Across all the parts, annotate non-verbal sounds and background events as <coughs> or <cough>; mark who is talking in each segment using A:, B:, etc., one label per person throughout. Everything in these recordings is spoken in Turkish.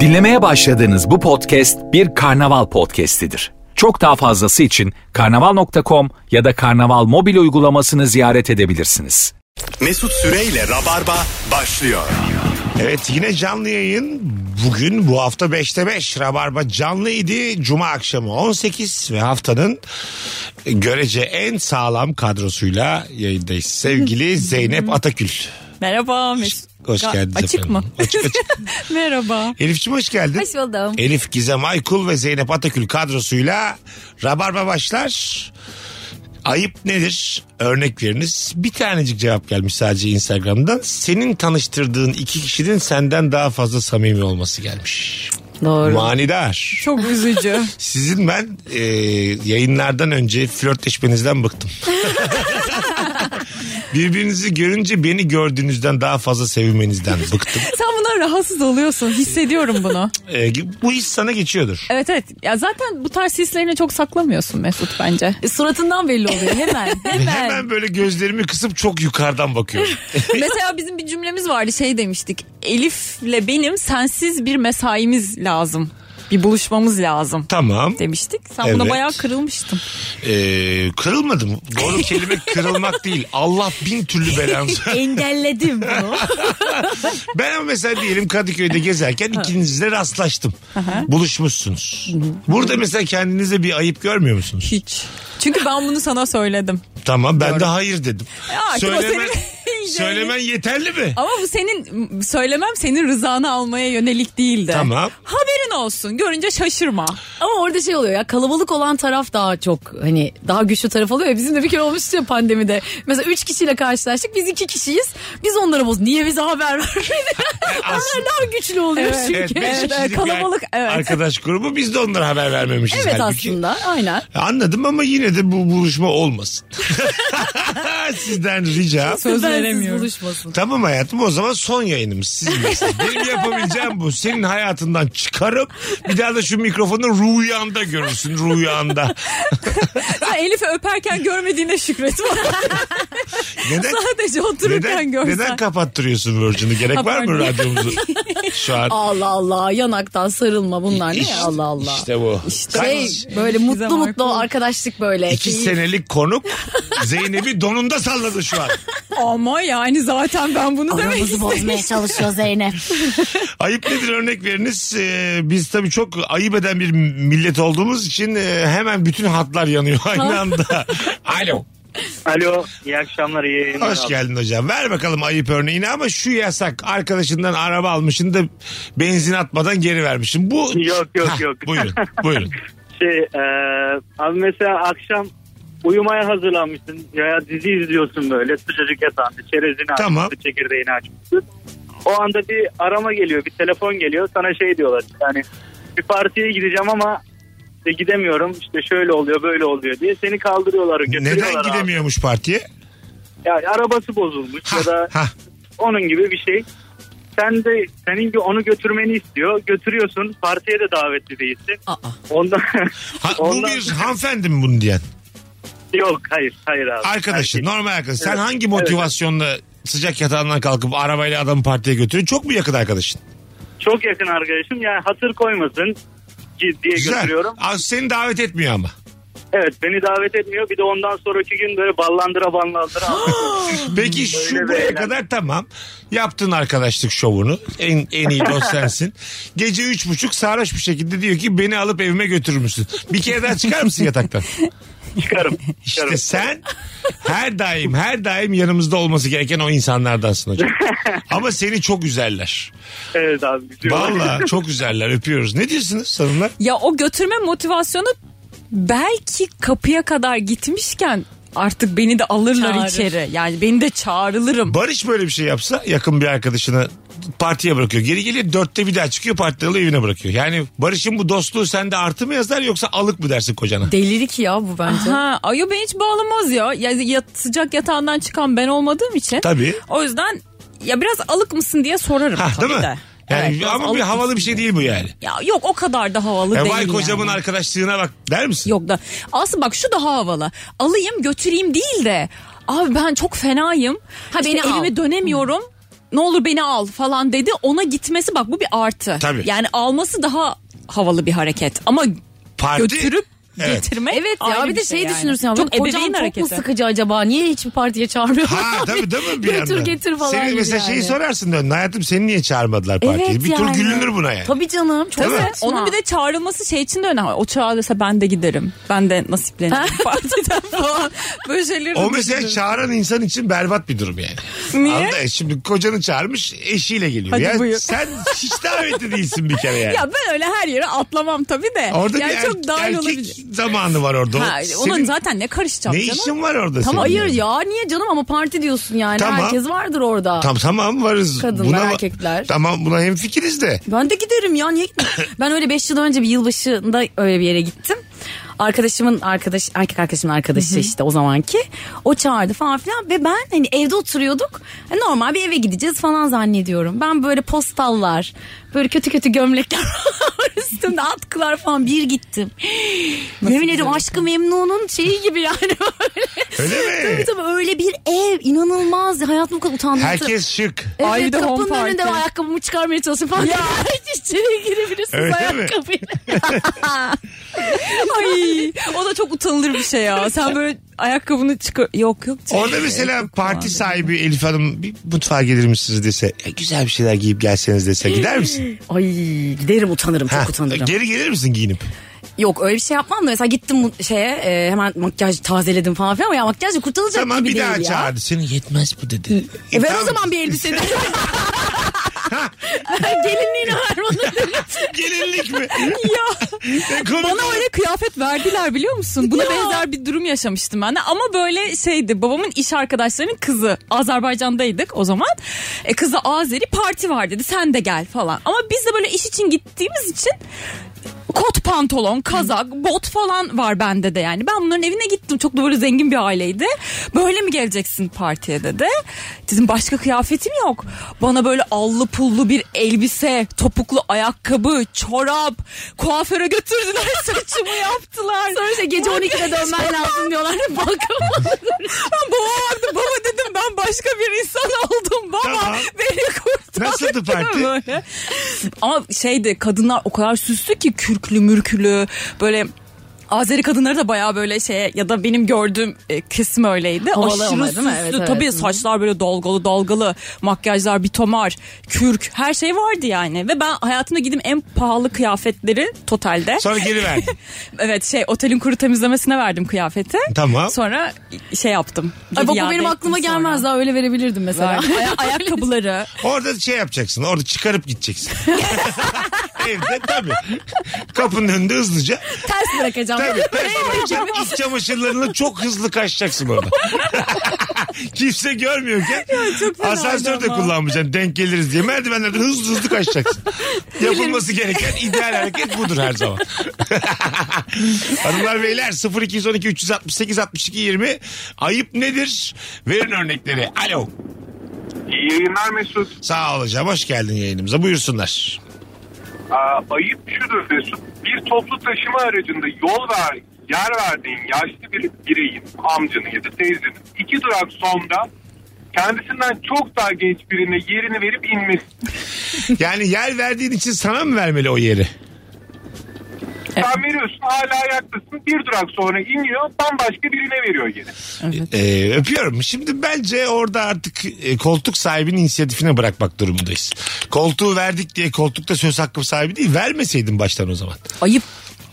A: Dinlemeye başladığınız bu podcast bir karnaval podcastidir. Çok daha fazlası için karnaval.com ya da karnaval mobil uygulamasını ziyaret edebilirsiniz.
B: Mesut Süreyle Rabarba başlıyor.
C: Evet yine canlı yayın. Bugün bu hafta 5'te 5 Rabarba canlıydı. Cuma akşamı 18 ve haftanın görece en sağlam kadrosuyla yayındayız. Sevgili Zeynep Atakül.
D: Merhaba Mesut.
C: Hoş
D: Ga-
C: geldiniz
D: Açık
C: efendim.
D: mı?
C: Açık, açık.
D: <laughs> Merhaba.
C: Elif'ciğim hoş geldin.
E: Hoş buldum.
C: Elif Gizem Aykul ve Zeynep Atakül kadrosuyla Rabarba başlar. Ayıp nedir? Örnek veriniz. Bir tanecik cevap gelmiş sadece Instagram'dan. Senin tanıştırdığın iki kişinin senden daha fazla samimi olması gelmiş.
E: Doğru.
C: Manidar.
D: Çok üzücü.
C: Sizin ben e, yayınlardan önce flörtleşmenizden
E: <laughs>
C: bıktım. Birbirinizi görünce beni gördüğünüzden daha fazla sevmenizden bıktım.
D: <laughs> Sen buna rahatsız oluyorsun. Hissediyorum bunu.
C: E, bu his sana geçiyordur.
D: Evet evet. Ya zaten bu tarz hislerini çok saklamıyorsun Mesut bence.
E: E, Suratından belli oluyor hemen.
D: <laughs>
E: hemen.
C: Hemen böyle gözlerimi kısıp çok yukarıdan bakıyorum.
D: Mesela bizim bir cümlemiz vardı şey demiştik. Elif'le benim sensiz bir mesaimiz lazım. Bir buluşmamız lazım
C: tamam.
D: demiştik. Sen
C: Evet.
D: buna bayağı kırılmıştın.
C: E, kırılmadım. Doğru kelime kırılmak değil. Allah bin türlü belanızı.
E: Engelledim bunu.
C: Ben ama mesela diyelim Kadıköy'de gezerken ikinizle rastlaştım. Buluşmuşsunuz. Burada mesela kendinize bir ayıp görmüyor musunuz?
D: <laughs> Hiç. Çünkü ben bunu sana söyledim.
C: Tamam ben de hayır dedim.
D: Ya, kim o
C: söylemen,
D: senin-
C: söylemen yeterli mi?
D: Ama bu senin söylemem senin rızanı almaya yönelik değildi.
C: Tamam.
D: Haberin olsun. Görünce şaşırma.
E: Ama orada şey oluyor ya kalabalık olan taraf daha çok hani daha güçlü taraf oluyor ya. Bizim de bir kere olmuştu ya pandemide. Mesela üç kişiyle karşılaştık. Biz iki kişiyiz. Biz onlara boz. Niye bize haber vermedi? Onlar <laughs> daha güçlü oluyor çünkü.
C: Evet, beş
D: Evet,
C: kişilik bir
D: kalabalık, evet.
C: arkadaş grubu biz de onlara haber vermemişiz.
E: Evet
C: halbuki.
E: aslında aynen.
C: Anladım ama yine de bu buluşma olmasın. <laughs> Sizden rica.
D: Söz
E: Bensiz
D: veremiyorum.
E: buluşmasın.
D: <laughs>
C: Tamam hayatım o zaman son yayınımız sizin mesela. Benim yapabileceğim bu. Senin hayatından çıkarıp bir daha da şu mikrofonu rüyanda görürsün rüyanda.
D: Sen Elif'i öperken görmediğine şükret. <laughs>
C: Neden,
D: Sadece otururken
C: neden,
D: görsen.
C: neden kapattırıyorsun Virgin'i? Gerek var mı
D: Pardon.
C: radyomuzu? Şu an.
E: Allah Allah yanaktan sarılma bunlar ne
C: İşte-
E: ya Allah Allah.
C: İşte bu.
E: şey
C: Kaç-
E: böyle
D: Gizem
E: mutlu mutlu
D: Aykul.
E: arkadaşlık böyle.
D: şey,
C: İki
E: Keyif-
C: senelik konuk Zeynep'i donunda salladı şu an.
D: Ama yani zaten ben bunu demek
E: Aramızı
D: istedim.
E: bozmaya çalışıyor Zeynep.
C: Ayıp nedir örnek veriniz? Ee, biz tabii çok ayıp eden bir millet olduğumuz için e, hemen bütün hatlar yanıyor aynı anda. Alo.
F: Alo, iyi akşamlar, iyi yayınlar.
C: Hoş geldin hocam. Ver bakalım ayıp örneğini ama şu yasak arkadaşından araba almışsın da benzin atmadan geri vermişsin. Bu
F: Yok, yok,
C: Hah,
F: yok.
C: Buyurun. Buyurun.
F: Şey, e, abi mesela akşam uyumaya hazırlanmışsın ya dizi izliyorsun böyle sıcacık yatağında çerezini açmışsın,
C: Tamam.
F: çekirdeğini açmışsın. O anda bir arama geliyor, bir telefon geliyor. Sana şey diyorlar yani bir partiye gideceğim ama işte gidemiyorum. İşte şöyle oluyor, böyle oluyor diye seni kaldırıyorlar.
C: Neden
F: <laughs> götürüyorlar abi.
C: gidemiyormuş partiye?
F: Yani arabası bozulmuş
C: Hah,
F: ya da
C: hah.
F: onun gibi bir şey. Sen de senin gibi onu götürmeni istiyor. Götürüyorsun. Partiye de davetli değilsin.
E: Aa.
F: Ondan,
C: Ha, bu
F: ondan
C: bir hanımefendi mi bunu diyen?
F: yok hayır hayır abi.
C: Arkadaşın,
F: Erkek.
C: normal arkadaş. Sen
F: Evet,
C: hangi motivasyonla sıcak yatağından kalkıp arabayla adamı partiye götürüyorsun? Çok mu yakın arkadaşın?
F: Çok yakın arkadaşım yani hatır koymasın ki diye götürüyorum.
C: Az seni davet etmiyor ama.
F: Evet beni davet etmiyor. Bir de ondan sonraki gün böyle ballandıra ballandıra.
C: Peki şu
F: Öyle
C: buraya
F: böyle.
C: kadar tamam. Yaptın arkadaşlık şovunu. En, en iyi
F: <laughs>
C: dost sensin. Gece üç buçuk sarhoş bir şekilde diyor ki beni alıp evime götürür müsün? Bir kere daha çıkar mısın yataktan?
F: <laughs> çıkarım. çıkarım.
C: İşte sen her daim her daim yanımızda olması gereken o insanlardansın
F: <laughs>
C: hocam. Ama seni çok üzerler.
F: Evet abi. biliyorum.
C: Valla çok üzerler öpüyoruz. Ne diyorsunuz hanımlar?
D: Ya o götürme motivasyonu belki kapıya kadar gitmişken artık beni de alırlar
E: Çağırır.
D: içeri. Yani beni de çağrılırım.
C: Barış böyle bir şey yapsa yakın bir arkadaşını partiye bırakıyor. Geri geliyor dörtte bir daha çıkıyor partide alıyor evine bırakıyor. Yani Barış'ın bu dostluğu sende artı mı yazar yoksa alık mı dersin kocana?
E: Delilik ya bu bence.
D: Ha, ayo beni hiç bağlamaz ya. ya yat- sıcak yatağından çıkan ben olmadığım için.
C: Tabii.
D: O yüzden ya biraz alık mısın diye sorarım
C: Ha,
D: tabii
C: değil mi?
D: de.
C: Yani
D: Evet, biraz
C: ama bir
D: alık
C: havalı bir şey değil bu yani.
D: Ya yok o kadar da havalı
C: E
D: değil.
C: vay kocamın
D: yani.
C: arkadaşlığına bak der misin?
D: Yok da aslında bak şu daha havalı. Alayım götüreyim değil de abi ben çok fenayım. Ha
E: İşte
D: beni
E: evime
D: evime dönemiyorum. ne olur beni al falan dedi. Ona gitmesi bak bu bir artı.
C: Tabii.
D: Yani alması daha havalı bir hareket. Ama
C: Parti.
D: götürüp
C: <laughs> Evet.
D: getirmek
E: Evet ya
D: ayrı
E: bir de
D: şey
E: şey
D: yani.
E: düşünürsün ya.
D: Çok
E: Çok
D: ebeveyn
E: ebeveyn çok mu
D: hareketi.
E: sıkıcı acaba? Niye hiçbir partiye çağırmıyor?
C: Ha
D: <laughs>
C: tabii değil mi bir
E: Götür
C: yandan?
E: getir falan
C: Senin
E: gibi
C: mesela şeyi
E: yani.
C: sorarsın dön. Hayatım seni niye çağırmadılar partiye? bir tur
E: yani.
C: gülünür buna yani.
E: Tabii canım. Çok
C: Değil mi?
E: saçma.
D: Onun bir de çağrılması şey için de önemli. O çağırırsa ben de giderim. Ben de nasiplenirim
E: <laughs>
D: partiden falan. Böyle şeyleri de
C: O mesela
D: düşünüyorum.
C: çağıran insan için berbat bir durum yani.
D: Niye?
C: Anladın mı? E, Şimdi kocanı çağırmış eşiyle geliyor.
D: Hadi
C: ya
D: buyur.
C: sen hiç davetli değilsin bir kere yani.
D: <laughs> Ya ben öyle her yere atlamam tabii de.
C: Orada
D: yani
C: bir
D: çok
C: er-
D: dahil
C: erkek
D: olabilir.
C: zamanı var orada. O
D: Ha,
C: senin
D: onun zaten ne karışacağım
C: ne
D: canım?
C: işin var orada
E: Tamam
C: senin?
E: hayır ya niye canım ama parti diyorsun yani.
C: Tamam.
E: Herkes vardır orada.
C: Tam tamam varız.
E: Kadınlar,
C: Buna-
E: erkekler.
C: Tamam buna hem fikiriz de.
E: Ben de giderim ya niye gitmeyeyim?
C: <coughs>
E: Ben öyle 5 yıl önce bir yılbaşında öyle bir yere gittim. Arkadaşımın arkadaş erkek arkadaşımın arkadaşı işte o zamanki o çağırdı falan filan ve ben hani evde oturuyorduk Hani normal bir eve gideceğiz falan zannediyorum. Ben böyle postallar böyle kötü kötü gömlekler <laughs> var üstümde atkılar falan bir gittim. Yemin ediyorum aşkı memnunun şeyi gibi yani <laughs> böyle.
C: şey. Öyle mi?
E: Tabii tabii öyle bir ev inanılmaz hayatım bu kadar utandırıcı.
C: Herkes şık.
E: Evet
D: Ay bir de home
E: kapının önünde
D: party.
E: ayakkabımı çıkarmaya çalışıyorum <laughs> falan. Ya içeriye girebilirsiniz
C: Öyle mi? <laughs>
E: ayakkabıyla.
D: Ay, o da çok utanılır bir şey
E: <laughs>
D: ya. Sen böyle ayakkabını çıkar... Yok yok.
E: Şey,
C: Orada mesela parti sahibi Elif Hanım bir mutfağa gelir misiniz dese "E, güzel bir şeyler giyip gelseniz dese gider misin?
E: Ay giderim utanırım çok
C: Ha,
E: utanırım.
C: Geri gelir misin giyinip?
E: Yok öyle bir şey yapmam da mesela gittim mu- şeye e, hemen makyaj tazeledim falan filan ama ya makyajla kurtulacak
C: Tamam
E: gibi
C: bir
E: değil
C: daha
E: ya.
C: çağırdı. Seni yetmez bu dedi.
E: E ver
C: Tamam.
E: o zaman bir elbiseni. Ver Gelinliğini ver bana dedi.
C: <laughs> Gelinlik mi? E,
D: Ya.
C: Ne komik
D: Bana
C: olur.
D: öyle kıyafet verdiler biliyor musun? Buna
E: Ya.
D: benzer bir durum yaşamıştım ben de. Ama böyle şeydi babamın iş arkadaşlarının kızı. Azerbaycan'daydık o zaman. E, kızı Azeri parti var dedi sen de gel falan. Ama biz de böyle iş için gittiğimiz için kot pantolon, kazak, bot falan var bende de yani. Ben bunların evine gittim. Çok da böyle zengin bir aileydi. Böyle mi geleceksin partiye dedi. Dedim başka kıyafetim yok. Bana böyle allı pullu bir elbise, topuklu ayakkabı, çorap, kuaföre götürdüler <laughs> saçımı yaptılar.
E: Sonra işte gece 12'de dönmen lazım diyorlar. Balkon.
D: Ben babama baktım. Baba dedim ben başka bir insan oldum. Baba
C: Tamam.
D: beni kurtar.
C: Nasıldı parti?
D: Böyle. Ama şeydi kadınlar o kadar süslü ki kürklü mürkülü böyle Azeri kadınları da bayağı böyle şeye ya da benim gördüğüm e, kesim öyleydi.
E: Havalı
D: Aşırı
E: onlar
D: süslü.
E: değil mi? Evet, evet.
D: Tabii
E: Hı.
D: saçlar böyle dalgalı dalgalı. Makyajlar bitomar, kürk her şey vardı yani. Ve ben hayatımda gidip en pahalı kıyafetleri totalde.
C: Sonra geri verdi.
D: Evet şey otelin kuru temizlemesine verdim kıyafeti.
C: Tamam.
D: Sonra şey yaptım.
E: Ay bak bu
D: iade
E: benim
D: ettim
E: aklıma
D: sonra.
E: gelmez daha öyle verebilirdim
D: <laughs>
E: mesela.
D: Verdim. Aya- ayakkabıları.
C: Orada şey yapacaksın. Orada çıkarıp
E: <laughs>
C: gideceksin. <laughs> Evde tabii. Kapının önünde hızlıca.
E: <laughs> Ters bırakacağım.
C: Tabii. Tabii. İç çamaşırlarını çok hızlı kaçacaksın orada. <laughs> Kimse görmüyorken asansörde kullanmayacaksın. Denk geliriz diye. Merdivenlerden hızlı hızlı kaçacaksın. Yapılması gereken ideal hareket budur her zaman. Hanımlar beyler 0212 368 62 20 ayıp nedir? Verin örnekleri. Alo.
G: İyi yayınlar Mesut.
C: Sağ ol hocam. Hoş geldin yayınımıza. Buyursunlar.
G: Aa, ayıp şudur Mesut. Bir toplu taşıma aracında yol ver, yer verdiğin yaşlı bir bireyin, amcanın ya da teyzenin iki durak sonra kendisinden çok daha genç birine yerini verip inmesi.
C: Yani yer verdiğin için sana mı vermeli o yeri?
G: Sen veriyorsun hala ayaktasın bir durak sonra iniyor bambaşka birine veriyor yeri.
C: Ee, öpüyorum. Şimdi bence orada artık e, koltuk sahibinin inisiyatifine bırakmak durumundayız. Koltuğu verdik diye koltukta söz hakkı sahibi değil. Vermeseydin baştan o zaman.
D: Ayıp.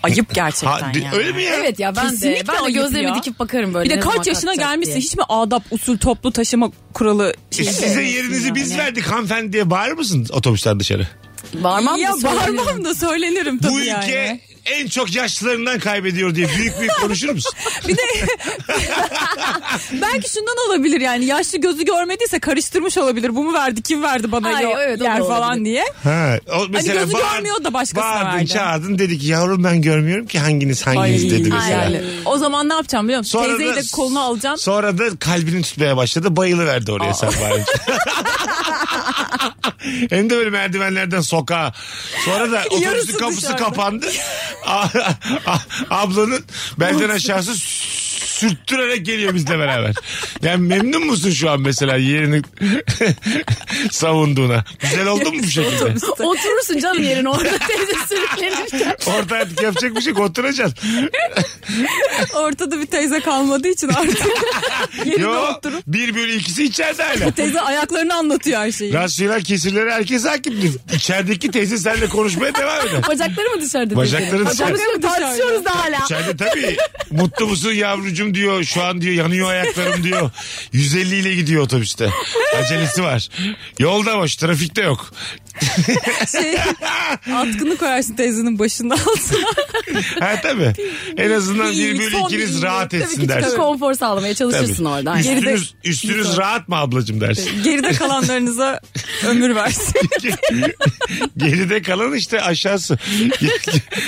D: Ayıp gerçekten
C: Ha, de-
D: yani.
C: Öyle mi ya? E,
E: Evet ya ben
D: Kesinlikle
E: de ben de
D: ayıp
E: gözlerimi
D: ya.
E: dikip bakarım böyle.
D: Bir de
E: ne zaman
D: kaç yaşına
E: kalkacak
D: gelmişsin
E: diye.
D: hiç mi adap usul toplu taşıma kuralı
C: E,
D: şey?
C: Size yerinizi biz verdik hanımefendi diye bağırır mısın otobüsten dışarı?
E: Bağırmam
D: ya
E: da söylenirim.
D: bağırmam da söylenirim tabii
C: Bu ülke
D: yani.
C: en çok yaşlılarından kaybediyor diye büyük büyük konuşur
D: <laughs>
C: musun?
D: Bir de belki şundan olabilir yani yaşlı gözü görmediyse karıştırmış olabilir. Bu mu verdi kim verdi bana
E: Ay,
D: yo-
E: evet, o da
D: yer falan
E: olabilir.
D: diye.
C: Ha, o mesela
D: Hani gözü
C: bağır-
D: görmüyor da başkasına
C: bağırdın,
D: verdi.
C: çağırdın dedi ki yavrum ben görmüyorum ki hanginiz hanginiz dedi mesela.
D: ay, öyle. O zaman ne yapacağım biliyor musun?
C: Sonra
D: Teyzeyi
C: da-
D: de koluna alacağım.
C: Sonra da kalbini tutmaya başladı. Bayılıverdi oraya sen
D: <laughs>
C: bağırınca. Hem de böyle merdivenlerden sokağa. Sonra da otobüsün
D: <laughs> Yarısı
C: kapısı
D: dışarıda.
C: kapandı. A- a- Ablanın belden aşağısı sürttürerek geliyor bizle beraber. Yani memnun musun şu an mesela yerini <laughs> savunduğuna? Güzel oldun mu bu şekilde?
E: Oturursun canım yerine orada <laughs> teyze sürüklenirken.
C: Ortaya yapacak bir şey yok, oturacaksın.
D: Ortada bir teyze kalmadığı için
C: <laughs>
D: artık yerine
C: Yo,
D: oturup.
C: bir bölü ikisi içeride hala.
D: Teyze ayaklarını anlatıyor her şeyi.
C: Rasyonel kesirlere herkes hakimdir. İçerideki teyze seninle konuşmaya devam eder.
E: Bacakları mı dışarıda?
C: Bacakları dışarı.
E: Bacakları mı tartışıyoruz da hala.
C: İçeride tabii mutlu musun yavrucum diyor. Şu an diyor yanıyor ayaklarım diyor. 150 ile gidiyor otobüste. Acelesi var. Yolda boş trafikte yok.
D: Şey, atkını koyarsın
C: <laughs>
D: teyzenin başının altına.
C: Ha tabii. En azından
D: Bir
C: bir
D: iyilik,
C: bölü
D: son bir
C: ikiniz
D: iyilik.
C: rahat
D: Tabii
C: etsin
E: Küçük
C: dersin.
E: bir konfor sağlamaya çalışırsın
C: Tabii.
E: orada. Aynen.
C: Üstünüz, üstünüz rahat mı ablacım dersin.
D: Geride kalanlarınıza ömür versin.
C: <laughs> Geride kalan işte aşağısı. <laughs>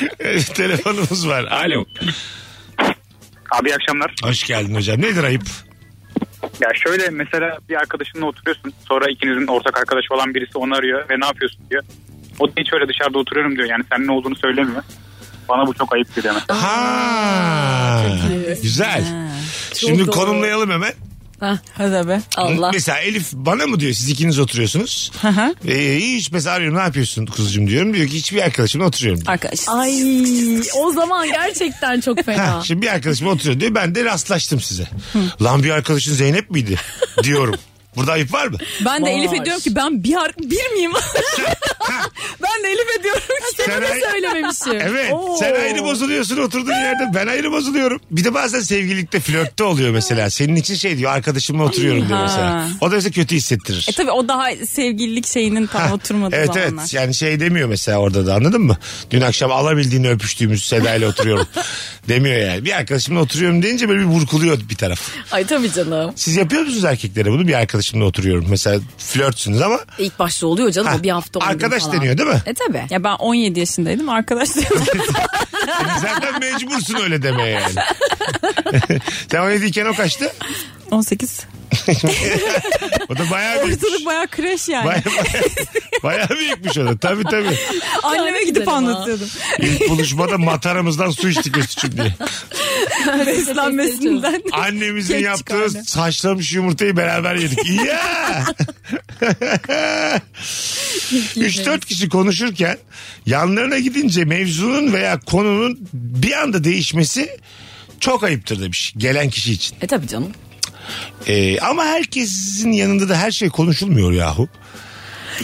C: Telefonumuz var. Alo.
F: Abi iyi akşamlar.
C: Hoş geldin hocam. Nedir ayıp?
F: Ya şöyle mesela bir arkadaşınla oturuyorsun. Sonra ikinizin ortak arkadaşı olan birisi onu arıyor ve ne yapıyorsun diyor. O da hiç öyle dışarıda oturuyorum diyor. Yani sen ne olduğunu söylemiyor. Bana bu çok ayıp dedi hemen.
C: Ha. Güzel. Şimdi
E: doğru.
C: konumlayalım hemen.
D: Hadi be.
E: Allah.
C: Mesela Elif bana mı diyor siz ikiniz oturuyorsunuz.
D: hı.
C: Ee, hiç mesela arıyorum ne yapıyorsun kuzucuğum diyorum. Diyor ki hiçbir arkadaşımla oturuyorum. diyor.
D: Arkadaş.
E: Ay o zaman gerçekten çok
C: Ha,
E: fena.
C: şimdi bir arkadaşım oturuyor diyor ben de rastlaştım size. Lan bir arkadaşın Zeynep miydi diyorum. Burada ayıp var mı?
D: Ben de
E: Vay.
D: Elif ediyorum ki ben bir, ar-
C: <laughs>
D: bir miyim? <laughs> ben de Elif ediyorum ki.
C: Sen ay-
E: Ne söylememişim.
C: Evet
E: Oo.
C: sen ayrı bozuluyorsun oturduğun yerde ben ayrı bozuluyorum. Bir de bazen sevgililikte flörtte oluyor mesela. Senin için şey diyor arkadaşımla oturuyorum diyor
D: Ha.
C: mesela. O da mesela kötü hissettirir.
D: E tabii o daha sevgililik şeyinin tam oturmadığı
C: Evet
D: zamanlar.
C: evet yani şey demiyor mesela orada da anladın mı? Dün akşam alabildiğini öpüştüğümüz Seda ile oturuyorum demiyor yani. Bir arkadaşımla oturuyorum deyince böyle bir burkuluyor bir taraf.
E: Ay tabii canım.
C: Siz yapıyor musunuz erkeklere bunu bir arkadaşımla oturuyorum mesela flörtsünüz ama
E: İlk başta oluyor canım
C: Ha,
E: o bir hafta on gün
C: arkadaş
E: falan.
C: deniyor değil mi?
E: E tabii.
D: Ya ben 17 yaşındaydım arkadaşlarım.
C: <laughs> zaten mecbursun öyle demeye yani. <laughs> Sen o yediyken o kaçtı?
D: 18.
C: O da bayağı büyük.
D: Ortalık baya kreş yani.
C: Bayağı, bayağı, bayağı büyükmüş o da tabii tabii.
D: Anneme
E: Ay,
D: gidip
E: güzelim ha.
D: anlatıyordum.
C: İlk buluşmada mataramızdan su içtik üstücüm diye.
D: Beslenmesinden.
E: <laughs>
C: Annemizin
D: Kek
C: yaptığı
D: çıkardı.
C: saçlamış yumurtayı beraber
E: <laughs>
C: yedik. Ya! 3-4 kişi konuşurken yanlarına gidince mevzunun veya konunun bir anda değişmesi çok ayıptır demiş gelen kişi için.
E: E tabii canım.
C: Ee, ama herkesin yanında da her şey konuşulmuyor yahu.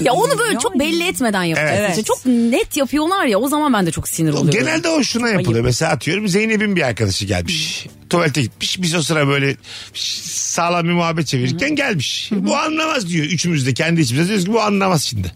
E: Ya onu böyle çok belli etmeden yapacaksın.
C: Evet.
E: İşte çok net yapıyorlar ya o zaman ben de çok sinir oluyorum.
C: Genelde o şuna yapılıyor. Mesela atıyorum Zeynep'in bir arkadaşı gelmiş. Tuvalete gitmiş. Biz o sıra böyle sağlam bir muhabbet çevirirken gelmiş. Bu anlamaz diyor. Üçümüz de kendi içimizde diyoruz ki bu anlamaz şimdi.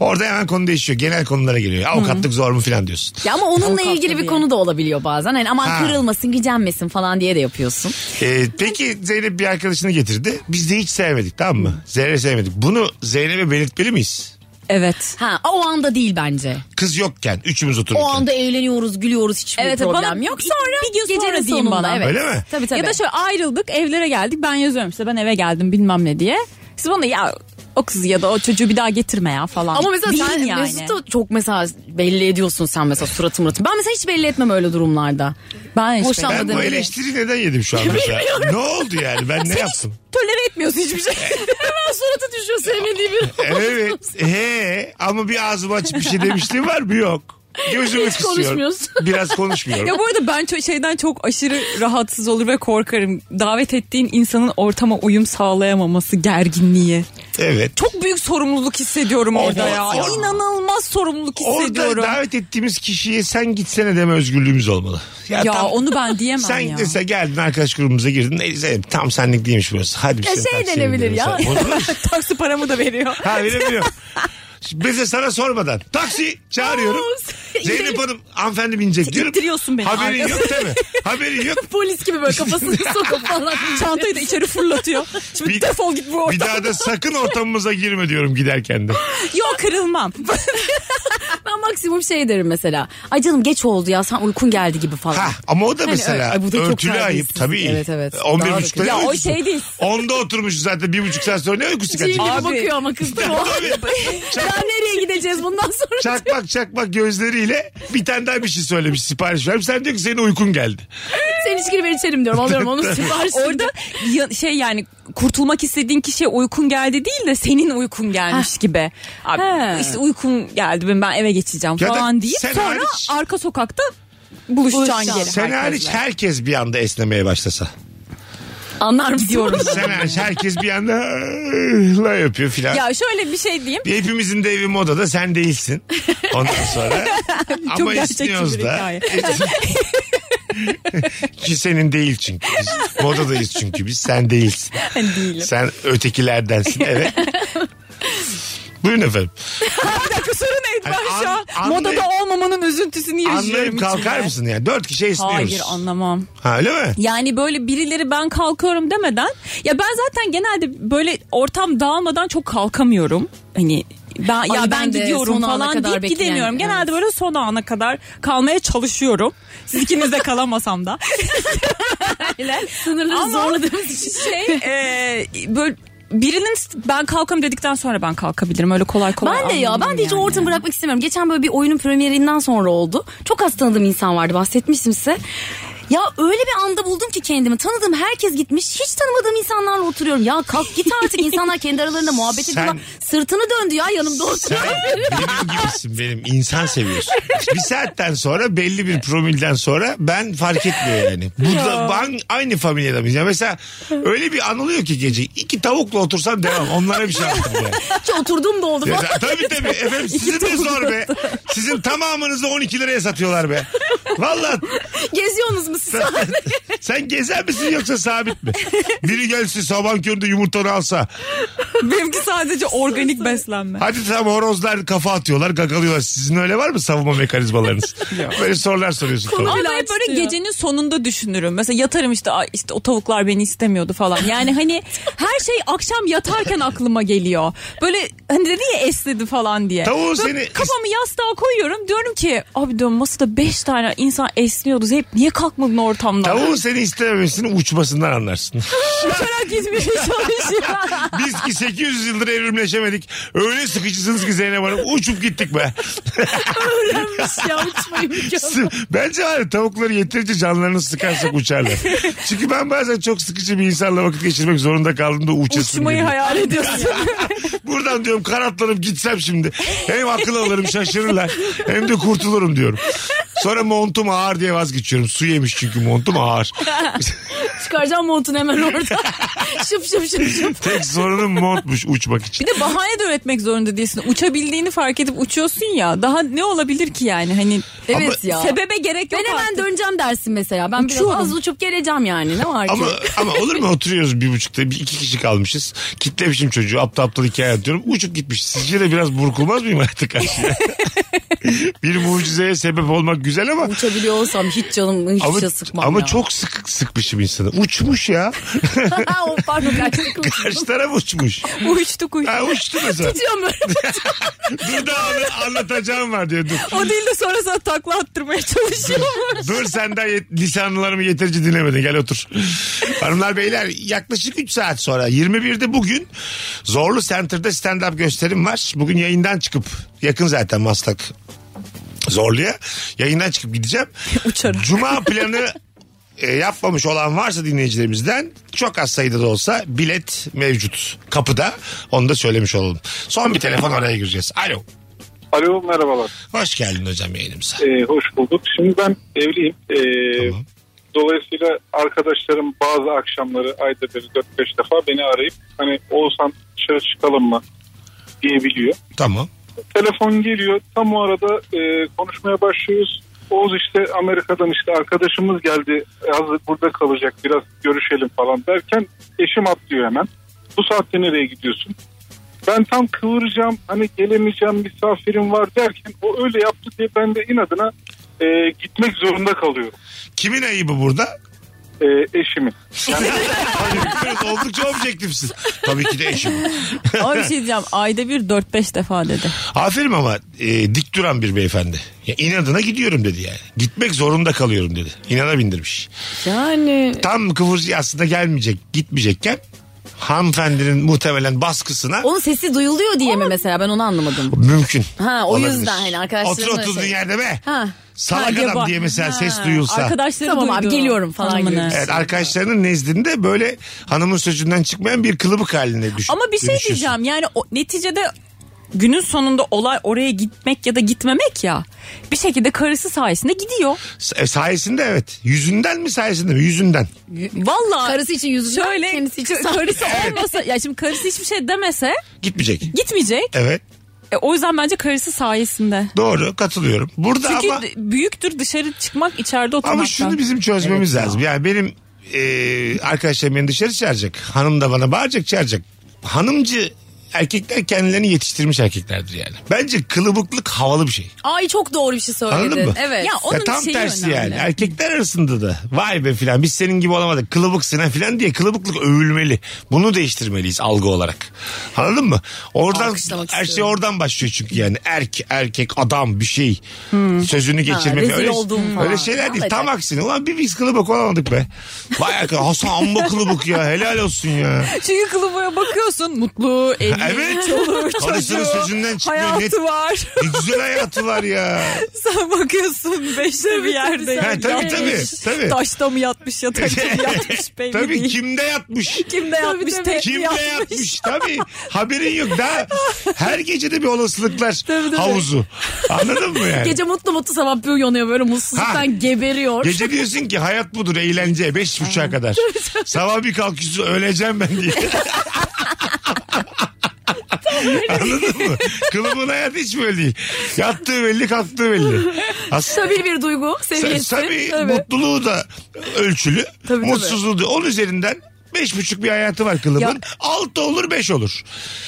C: Orada hemen konu değişiyor. Genel konulara geliyor. Avukatlık zor mu filan diyorsun.
E: Ya ama onunla ilgili bir
D: diye.
E: konu da olabiliyor bazen. Hani aman
C: Ha.
E: kırılmasın, gücenmesin falan diye de yapıyorsun.
C: Ee, peki Zeynep bir arkadaşını getirdi. Biz de hiç sevmedik tamam mı? Zeynep'i sevmedik. Bunu Zeynep'e belirtmeli miyiz?
D: Evet.
E: Ha o anda değil bence.
C: Kız yokken üçümüz otururken.
E: O anda eğleniyoruz, gülüyoruz, hiçbir
D: Evet,
E: problem
D: bana
E: yok.
D: bir-
E: Sonra
D: bir gün sonra
E: gecenin
D: deyin
E: sonunda,
D: bana.
E: Evet.
C: Öyle mi?
E: Tabii tabii.
D: Ya da şöyle ayrıldık evlere geldik ben yazıyorum işte ben eve geldim bilmem ne diye. Siz bana ya o kızı ya da o çocuğu bir daha getirme ya falan.
E: Ama mesela
D: Deyin
E: sen
D: yani.
E: Mesut'u çok mesela belli ediyorsun sen mesela suratı muratı. Ben mesela hiç belli etmem öyle durumlarda.
D: Ben hiç
E: Boşan-
C: Ben
E: Anladım,
C: bu
E: öyle.
C: eleştiri neden yedim şu an
E: <laughs>
C: mesela? ne oldu yani? Ben ne yaptım?
D: tolere etmiyorsun hiçbir şey.
E: Hemen suratı düşüyor sevmediği bir.
C: Evet. He. Ama bir ağzımı açıp bir şey demişliğim var mı? Yok. Gözümü
E: Hiç
C: kısıyorum.
E: konuşmuyorsun.
C: Biraz konuşmuyorum.
D: <laughs> ya bu arada ben ço- şeyden çok aşırı rahatsız olur ve korkarım. Davet ettiğin insanın ortama uyum sağlayamaması gerginliği.
C: evet.
D: Çok büyük sorumluluk hissediyorum orada ya.
C: orada-
D: İnanılmaz sorumluluk
C: Orada
D: hissediyorum.
C: davet ettiğimiz kişiye sen gitsene deme özgürlüğümüz olmalı. Ya,
D: Ya
C: tam-
D: onu ben diyemem
C: sen
D: ya.
C: mesela geldin arkadaş grubumuza girdin. E, Zeynep, tam senlik değilmiş burası. Hadi bir
E: Ya
C: sene
E: şey
C: taksiye
E: denebilir
C: gidelim.
E: ya.
C: Sen- Olur mu?
D: <laughs> Taksi paramı da veriyor.
C: <laughs> ha bilemiyorum. Bize sana sormadan taksi çağırıyorum.
E: Aa,
C: Zeynep Hanım hanımefendi binecek diyorum.
D: İttiriyorsun beni
C: Haberin <laughs>
D: arkada.
C: yok değil mi? Haberin yok.
E: Polis gibi böyle
D: <laughs>
E: kafasını sokup falan.
D: Çantayı da içeri fırlatıyor. Şimdi
C: Bir-
D: defol git bu
C: Bir
D: ortam.
C: daha da sakın ortamımıza girme diyorum giderken de.
D: Yok kırılmam.
E: Ben maksimum şey derim mesela. Ay canım geç oldu ya sen uykun geldi gibi falan.
C: Ha, ama o da mesela
E: öyle. Hani Ay, bu da çok
C: örtülü ayıp
E: terbiyesizlik.
C: tabii.
E: Evet, evet.
C: 11
E: Daha da
C: buçukta
E: kötü.
C: ne
E: Ya o
C: uykusu?
E: şey değil.
C: Onda oturmuşuz zaten bir buçuk saat sonra ne uykusu
E: Cin gibi
C: kaçacak?
D: Abi.
E: bakıyor ama kız da o. <laughs>
C: Tabii.
E: Ya
C: Çak,
E: nereye gideceğiz bundan sonra?
C: çakmak çakmak gözleriyle bir tane daha bir şey söylemiş sipariş vermiş. Sen diyor ki senin uykun geldi.
E: sen içkini ben içerim diyorum. Alıyorum
C: <laughs>
E: onun siparişini.
D: Orada ya- şey yani kurtulmak istediğin kişiye uykun geldi değil de senin uykun gelmiş gibi. Abi
E: He.
D: işte uykun geldi ben, ben eve geçeceğim
C: Ya da
D: falan deyip
C: sen
D: sonra
C: hariç-
D: arka sokakta buluşacaksın
E: Buluşacaksın.
D: gene.
C: Sen hariç
D: herkesle.
C: herkes bir anda esnemeye
E: <laughs>
C: başlasa.
E: Anlar mısın? <laughs> Diyorum.
C: Sen hariç herkes bir anda "Ih, la yapıyor filan.
D: Ya şöyle bir şey diyeyim.
C: Bir Hepimizin de evi modada sen değilsin. Ondan
D: <laughs>
C: sonra ama
D: gerçekçi
C: istiyoruz
D: bir
C: da.
D: hikaye.
C: Ki senin değil çünkü. Biz modadayız çünkü biz sen
D: <laughs>
C: değilsin.
D: değilim.
C: Sen ötekilerdensin
D: <laughs>
C: evet. Buyurun efendim.
D: Sorun neydi
C: Hani
D: ben şu
C: an-
D: an?
C: anlayıp-
D: Modada olmamanın üzüntüsünü yaşıyorum.
C: Anlayıp kalkar
D: içimde.
C: mısın yani? Dört kişi esniyoruz.
D: Hayır anlamam.
C: Ha öyle mi?
D: Yani böyle birileri ben kalkıyorum demeden ya ben zaten genelde böyle ortam dağılmadan çok kalkamıyorum. Hani ben ya ben,
E: ben de
D: gidiyorum
E: son ana
D: falan
E: kadar
D: deyip
E: bekleyen,
D: gidemiyorum.
E: evet.
D: Genelde böyle son ana kadar kalmaya çalışıyorum. Siz
E: <laughs>
D: ikiniz de kalamasam da.
E: Sınırları zorladığımız için.
D: şey e, böyle birinin ben kalkam dedikten sonra ben kalkabilirim. Öyle kolay kolay.
E: Ben de ya
D: anlamam
E: ben de hiç
D: yani.
E: o ortamı bırakmak istemiyorum. Geçen böyle bir oyunun premierinden sonra oldu. Çok az tanıdığım insan vardı bahsetmiştim size. Ya öyle bir anda buldum ki kendimi. Tanıdığım herkes gitmiş. Hiç tanımadığım insanlarla oturuyorum. Ya kalk git artık. insanlar kendi aralarında muhabbet
C: Sen-
E: ediyorlar. Sırtını döndü ya yanımda
C: Sen
E: oturuyor.
C: benim gibisin benim. İnsan seviyorsun. Bir saatten sonra belli bir promilden sonra ben fark etmiyor yani. Bu da ben aynı familyadan mıyız? Ya mesela öyle bir an oluyor ki gece. iki tavukla otursan devam. Onlara bir şey anlatırım yani.
E: Hiç oturduğum da oldu
C: Ya
E: falan.
C: sen- tabii tabii efendim sizin de zor be. Sizin tamamınızı 12 liraya satıyorlar be. Valla
E: Geziyorsunuz mu siz?
C: sen gezer misin yoksa sabit mi? Biri gelsin sabah köründe yumurtanı alsa.
D: benimki sadece organik beslenme.
C: Hadi tam horozlar kafa atıyorlar gagalıyorlar. Sizin öyle var mı savunma mekanizmalarınız? Böyle sorular soruyorsun. tabii.
D: Ama
E: Bile
D: hep böyle
E: açtı ya.
D: gecenin sonunda düşünürüm. Mesela yatarım işte "Ay işte o tavuklar beni istemiyordu falan. Yani hani her şey akşam yatarken aklıma geliyor. Böyle hani dedi ya esledi falan diye.
C: Tavuğu
D: Böyle
C: seni-
D: Kafamı yastığa koyuyorum diyorum ki abi diyorum masada 5 tane insan esniyordu. Hep niye kalkmadın ortamdan?
C: Tavuğun seni istememesinin uçmasından anlarsın.
D: Uçarak gitmeye çalışıyor. <laughs>
C: Biz ki 800 yıldır evrimleşemedik. Öyle sıkıcısınız ki Zeynep Hanım. Uçup gittik be.
E: ya uçmayı mükemmel.
C: Bence var ya, tavukları yeterince canlarını sıkarsak uçarlar. Çünkü ben bazen çok sıkıcı bir insanla vakit geçirmek zorunda kaldığımda uçasım
D: Uçmayı
C: geliyor. <laughs>
D: hayal ediyorsun.
C: Buradan diyorum kanatlanıp gitsem şimdi. Hem akıl alırım şaşırırlar hem de kurtulurum diyorum. Sonra montum ağır diye vazgeçiyorum. Su yemiş çünkü montum ağır.
E: Çıkaracağım montunu
C: <laughs>
E: hemen orada. şıp şıp şıp şıp.
C: Tek sorunum montmuş uçmak için.
D: Bir de bahane de üretmek zorunda değilsin. Uçabildiğini fark edip uçuyorsun ya. Daha ne olabilir ki yani? Hani
E: Evet ya.
D: Sebebe gerek yok
E: ben hemen
D: artık.
E: döneceğim dersin mesela. Ben
D: Uçuyorum.
E: biraz az uçup geleceğim yani. Ne var ki?
C: Ama ama olur mu oturuyoruz bir buçukta bir iki kişi kalmışız. Kitlemişim çocuğu aptal aptal hikaye atıyorum. Uçup gitmiş. Sizce de biraz burkulmaz mıyım artık
E: <laughs>
C: karşıya? bir mucizeye sebep olmak güzel ama
E: Uçabiliyor olsam hiç canım hiç
C: ama,
E: şey sıkmam
C: ama
E: ya. <laughs>
C: çok sık sıkmışım insanı. Uçmuş ya.
E: Ha, o pardon gerçekten
C: Karşı taraf uçmuş.
D: <laughs> Uçtuk uçtuk.
C: Ha uçtu mesela.
E: uçuyorum böyle.
C: dur daha anla- anlatacağım var diyor. Dur,
D: <laughs> O değil de sonra sana takla
C: <laughs>
D: attırmaya çalışıyor.
C: dur sen daha yet- lisanlarımı yeterince dinlemedin. Gel otur. Hanımlar beyler yaklaşık 3 saat sonra 21'de bugün Zorlu Center'da stand-up gösterim var. Bugün yayından çıkıp yakın zaten Maslak Zorlu'ya. Yayından çıkıp gideceğim.
D: Uçarak.
C: Cuma planı e, yapmamış olan varsa dinleyicilerimizden çok az sayıda da olsa bilet mevcut kapıda. Onu da söylemiş olalım. Son bir telefon araya gireceğiz. Alo.
F: Alo merhabalar.
C: Hoş geldin hocam yayınımıza.
F: Ee, hoş bulduk. Şimdi ben evliyim. Ee,
C: Tamam.
F: Dolayısıyla arkadaşlarım bazı akşamları ayda bir 4-5 defa beni arayıp hani Oğuzhan dışarı çıkalım mı diyebiliyor.
C: Tamam.
F: Telefon geliyor tam o arada e, konuşmaya başlıyoruz. Oğuz işte Amerika'dan işte arkadaşımız geldi hazır burada kalacak biraz görüşelim falan derken eşim atlıyor hemen. Bu saatte nereye gidiyorsun? Ben tam kıvıracağım hani gelemeyeceğim misafirim var derken o öyle yaptı diye ben de inadına e, gitmek zorunda kalıyorum
C: Kimin ayıbı burada?
F: e, eşimin.
C: Hayır, oldukça objektifsin. Tabii ki de eşim.
D: Ama bir şey diyeceğim. Ayda bir 4-5 defa dedi.
C: Aferin ama e, dik duran bir beyefendi. Ya, inadına gidiyorum dedi yani. Gitmek zorunda kalıyorum dedi. İnana bindirmiş.
E: Yani
C: Tam kıvırcı aslında gelmeyecek, gitmeyecekken hanımefendinin muhtemelen baskısına
E: onun sesi duyuluyor diye mi mesela ben onu anlamadım.
C: mümkün.
E: Ha, o
C: Olabilir.
E: yüzden hani arkadaşlarımla
C: Otur oturduğun
E: şey-
C: yerde be.
E: Ha.
C: Salak
D: Ha,
C: adam
D: yaba-
C: diye mesela
D: Ha,
C: ses duyulsa.
D: Arkadaşları
E: Tamam abi,
D: duydu.
E: geliyorum falan
D: Hanımını.
E: gibi. şey.
C: Evet, arkadaşlarının nezdinde böyle hanımın sözünden çıkmayan bir kılıbık haline düşün.
D: Ama bir şey
C: dönüşüyorsun.
D: diyeceğim yani o, neticede günün sonunda olay oraya gitmek ya da gitmemek ya. Bir şekilde karısı sayesinde gidiyor.
C: E, sayesinde evet. Yüzünden mi sayesinde mi? Yüzünden.
D: Vallahi
E: Karısı için yüzünden
D: şöyle
E: kendisi için
D: ka-
E: sağ-
D: karısı olmasa ya şimdi karısı hiçbir şey demese
C: Gitmeyecek.
D: gitmeyecek.
C: Evet.
D: E, o yüzden bence karısı sayesinde.
C: Doğru katılıyorum. Burada
D: Çünkü
C: ama
D: d- büyüktür dışarı çıkmak içeride oturmaktan.
C: ama şunu bizim çözmemiz lazım. Yani benim e, arkadaşlarım beni dışarı çağıracak. Hanım da bana bağıracak çağıracak. Hanımcı erkekler kendilerini yetiştirmiş erkeklerdir yani. Bence kılıbıklık havalı bir şey.
E: Ay çok doğru bir şey
C: Anladın
E: söyledin.
C: mı?
E: Evet.
D: Ya onun
C: ya tam
D: şeyi
C: tersi
D: önemli.
C: yani. Erkekler arasında da vay be filan biz senin gibi olamadık kılıbıksın ha filan diye kılıbıklık övülmeli. Bunu değiştirmeliyiz algı olarak. Anladın mı? Oradan
E: Alkışlamak
C: her şey
E: istiyorum.
C: oradan başlıyor çünkü yani erk erkek adam bir şey sözünü geçirmek
E: Hmm. rezil
C: öyle,
E: oldum
C: öyle
E: falan.
C: şeyler değil. Tam
E: Alacak.
C: aksine ulan bir biz kılıbık olamadık be. Vay arkadaş, Hasan amma kılıbık ya helal olsun ya.
D: <laughs> Çünkü kılıbaya bakıyorsun mutlu, evli,
C: Evet.
D: çoluğu,
C: Karısının
D: çocuğu,
C: sözünden çıkmıyor.
D: hayatı
C: Ne-
D: var.
C: Ne güzel hayatı var ya.
E: <laughs>
D: Sen bakıyorsun beşte bir yerde.
C: Ha, tabii,
D: yatmış.
C: tabii, tabii.
D: Taşta mı yatmış yatakta
C: <laughs>
D: mı yatmış belli
C: Tabii
D: değil.
C: kimde yatmış?
D: Kimde yatmış
E: tabii.
D: tek mi
C: Kimle
D: yatmış.
C: yatmış tabii. Haberin yok daha. Her gece de bir olasılıklar
E: Tabii, tabii.
C: havuzu. Anladın mı yani? Gece...
E: Gece mutlu mutlu sabah bir uyanıyor böyle mutsuzluktan
C: Ha.
E: geberiyor.
C: diyorsun ki hayat budur eğlence beş buçuğa kadar. Sabah bir kalkıyorsun öleceğim ben
E: <laughs>
C: diye. Anladın mı? Kılımın hayatı hiç böyle değil. Yattığı belli kalktığı belli. Aslında
E: Stabil bir duygu seviyesi.
C: tabii, mutluluğu da ölçülü.
E: tabii.
C: mutsuzluğu da. Onun üzerinden beş buçuk bir hayatı var kılımın. Altı olur beş olur.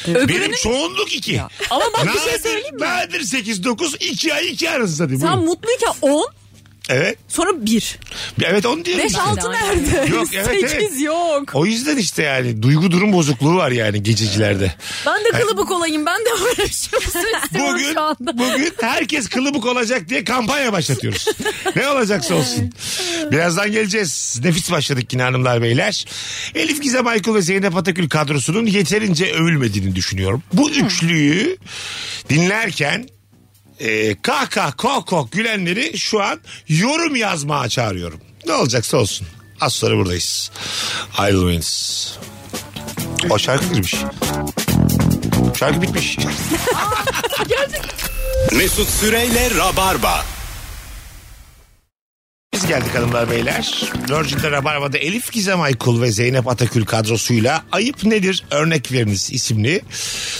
C: Benim çoğunluk iki.
D: Ama bak bir şey
C: Nadir,
D: söyleyeyim mi?
C: nadir 8 9 2 ay 2 arasında değil mi?
D: Sen mutluyken 10
C: Evet.
D: sonra 1.
C: Evet onu diyorum.
D: 5
C: işte.
D: 6 nerede?
C: Yok, evet, evet.
D: 8 yok.
C: O yüzden işte yani duygu durum bozukluğu var yani gececilerde.
E: Ben de kılıbık olayım. Ben de <laughs> böyle bir şey olsun istiyorum
C: Bugün
E: şu anda.
C: bugün herkes kılıbık olacak diye kampanya başlatıyoruz. ne olacaksa olsun. Birazdan geleceğiz. Nefis başladık yine hanımlar beyler. Elif Gizem Aykul ve Zeynep Atakül kadrosunun yeterince övülmediğini düşünüyorum. Bu üçlüyü dinlerken e, kahkah kok kok gülenleri şu an yorum yazmaya çağırıyorum. Ne olacaksa olsun. Az sonra buradayız. Ayrılmayınız. O şarkı girmiş. Şarkı bitmiş.
B: Mesut Süreyle Rabarba.
C: Biz geldik hanımlar beyler. Virgin'de Rabarba'da Elif Gizem Aykul ve Zeynep Atakül kadrosuyla Ayıp Nedir Örnek Veriniz isimli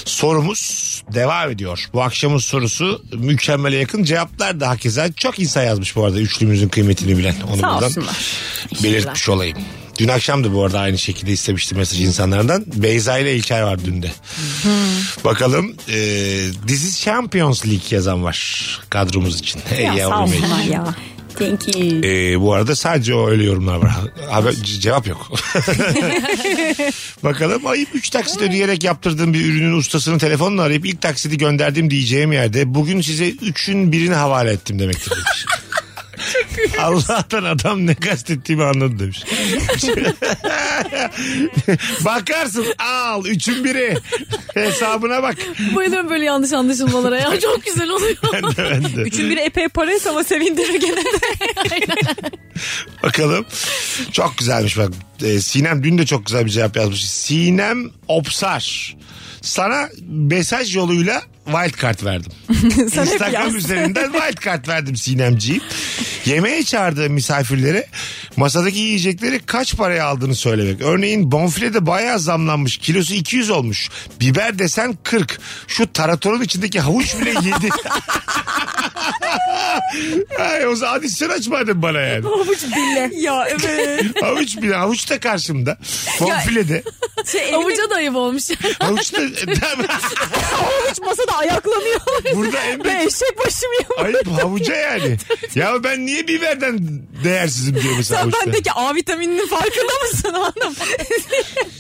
C: sorumuz devam ediyor. Bu akşamın sorusu mükemmele yakın cevaplar da hakeza çok insan yazmış bu arada üçlümüzün kıymetini bilen. Onu
D: Sağ
C: buradan
D: olsunlar.
C: belirtmiş olayım. Dün akşam da bu arada aynı şekilde istemiştim mesaj insanlardan. Beyza ile İlker var dün de. Bakalım e, This is Champions League yazan var kadromuz için. Ey yavrum ey.
D: ya.
E: Thank you.
C: Ee, bu arada sadece o öyle yorumlar var. Abi, ce- cevap yok. Bakalım ayıp 3 taksit ödeyerek yaptırdığım bir ürünün ustasını telefonla arayıp ilk taksidi gönderdim diyeceğim yerde bugün size 3'ün birini havale ettim demektir demiş. Allah'tan adam ne kastettiğimi anladı demiş. Bakarsın al üçün biri hesabına bak.
E: Bayılıyorum böyle yanlış
C: <laughs>
E: anlaşılmalara ya. Çok güzel oluyor.
C: Ben de.
D: Üçün biri epey paraysa ama sevindirir gene <laughs> de.
C: Bakalım. Çok güzelmiş bak. Ee, Sinem dün de çok güzel bir cevap yazmış. Sinem Opsar. Sana mesaj yoluyla wildcard
D: <laughs>
C: verdim.
D: Sen hep
C: Instagram
D: yaz.
C: üzerinden wildcard verdim Sinemciğim. Yemeğe çağırdığım misafirlere masadaki yiyecekleri kaç paraya aldığını söylemek. Örneğin bonfile de bayağı zamlanmış. Kilosu 200 olmuş. Biber desen 40. Şu taratorun içindeki havuç bile 7.
D: <laughs>
C: Ay, o zaman adisyon aç madem bana yani.
D: Havuç bile. Ya evet.
C: Havuç bile havuç da karşımda. Bonfile de.
D: Şey, elinde
E: Avuca da ayıp olmuş.
C: Havuç da.
E: <laughs>
D: havuç masada ayaklanıyor.
C: Burada en
D: Ve
C: büyük
D: eşek başım yiyor.
C: ayıp havuca yani. ya ben niye biberden değersizim diyor mesela
D: Sen
C: havuçta.
D: bendeki A vitamininin farkında mısın hanım?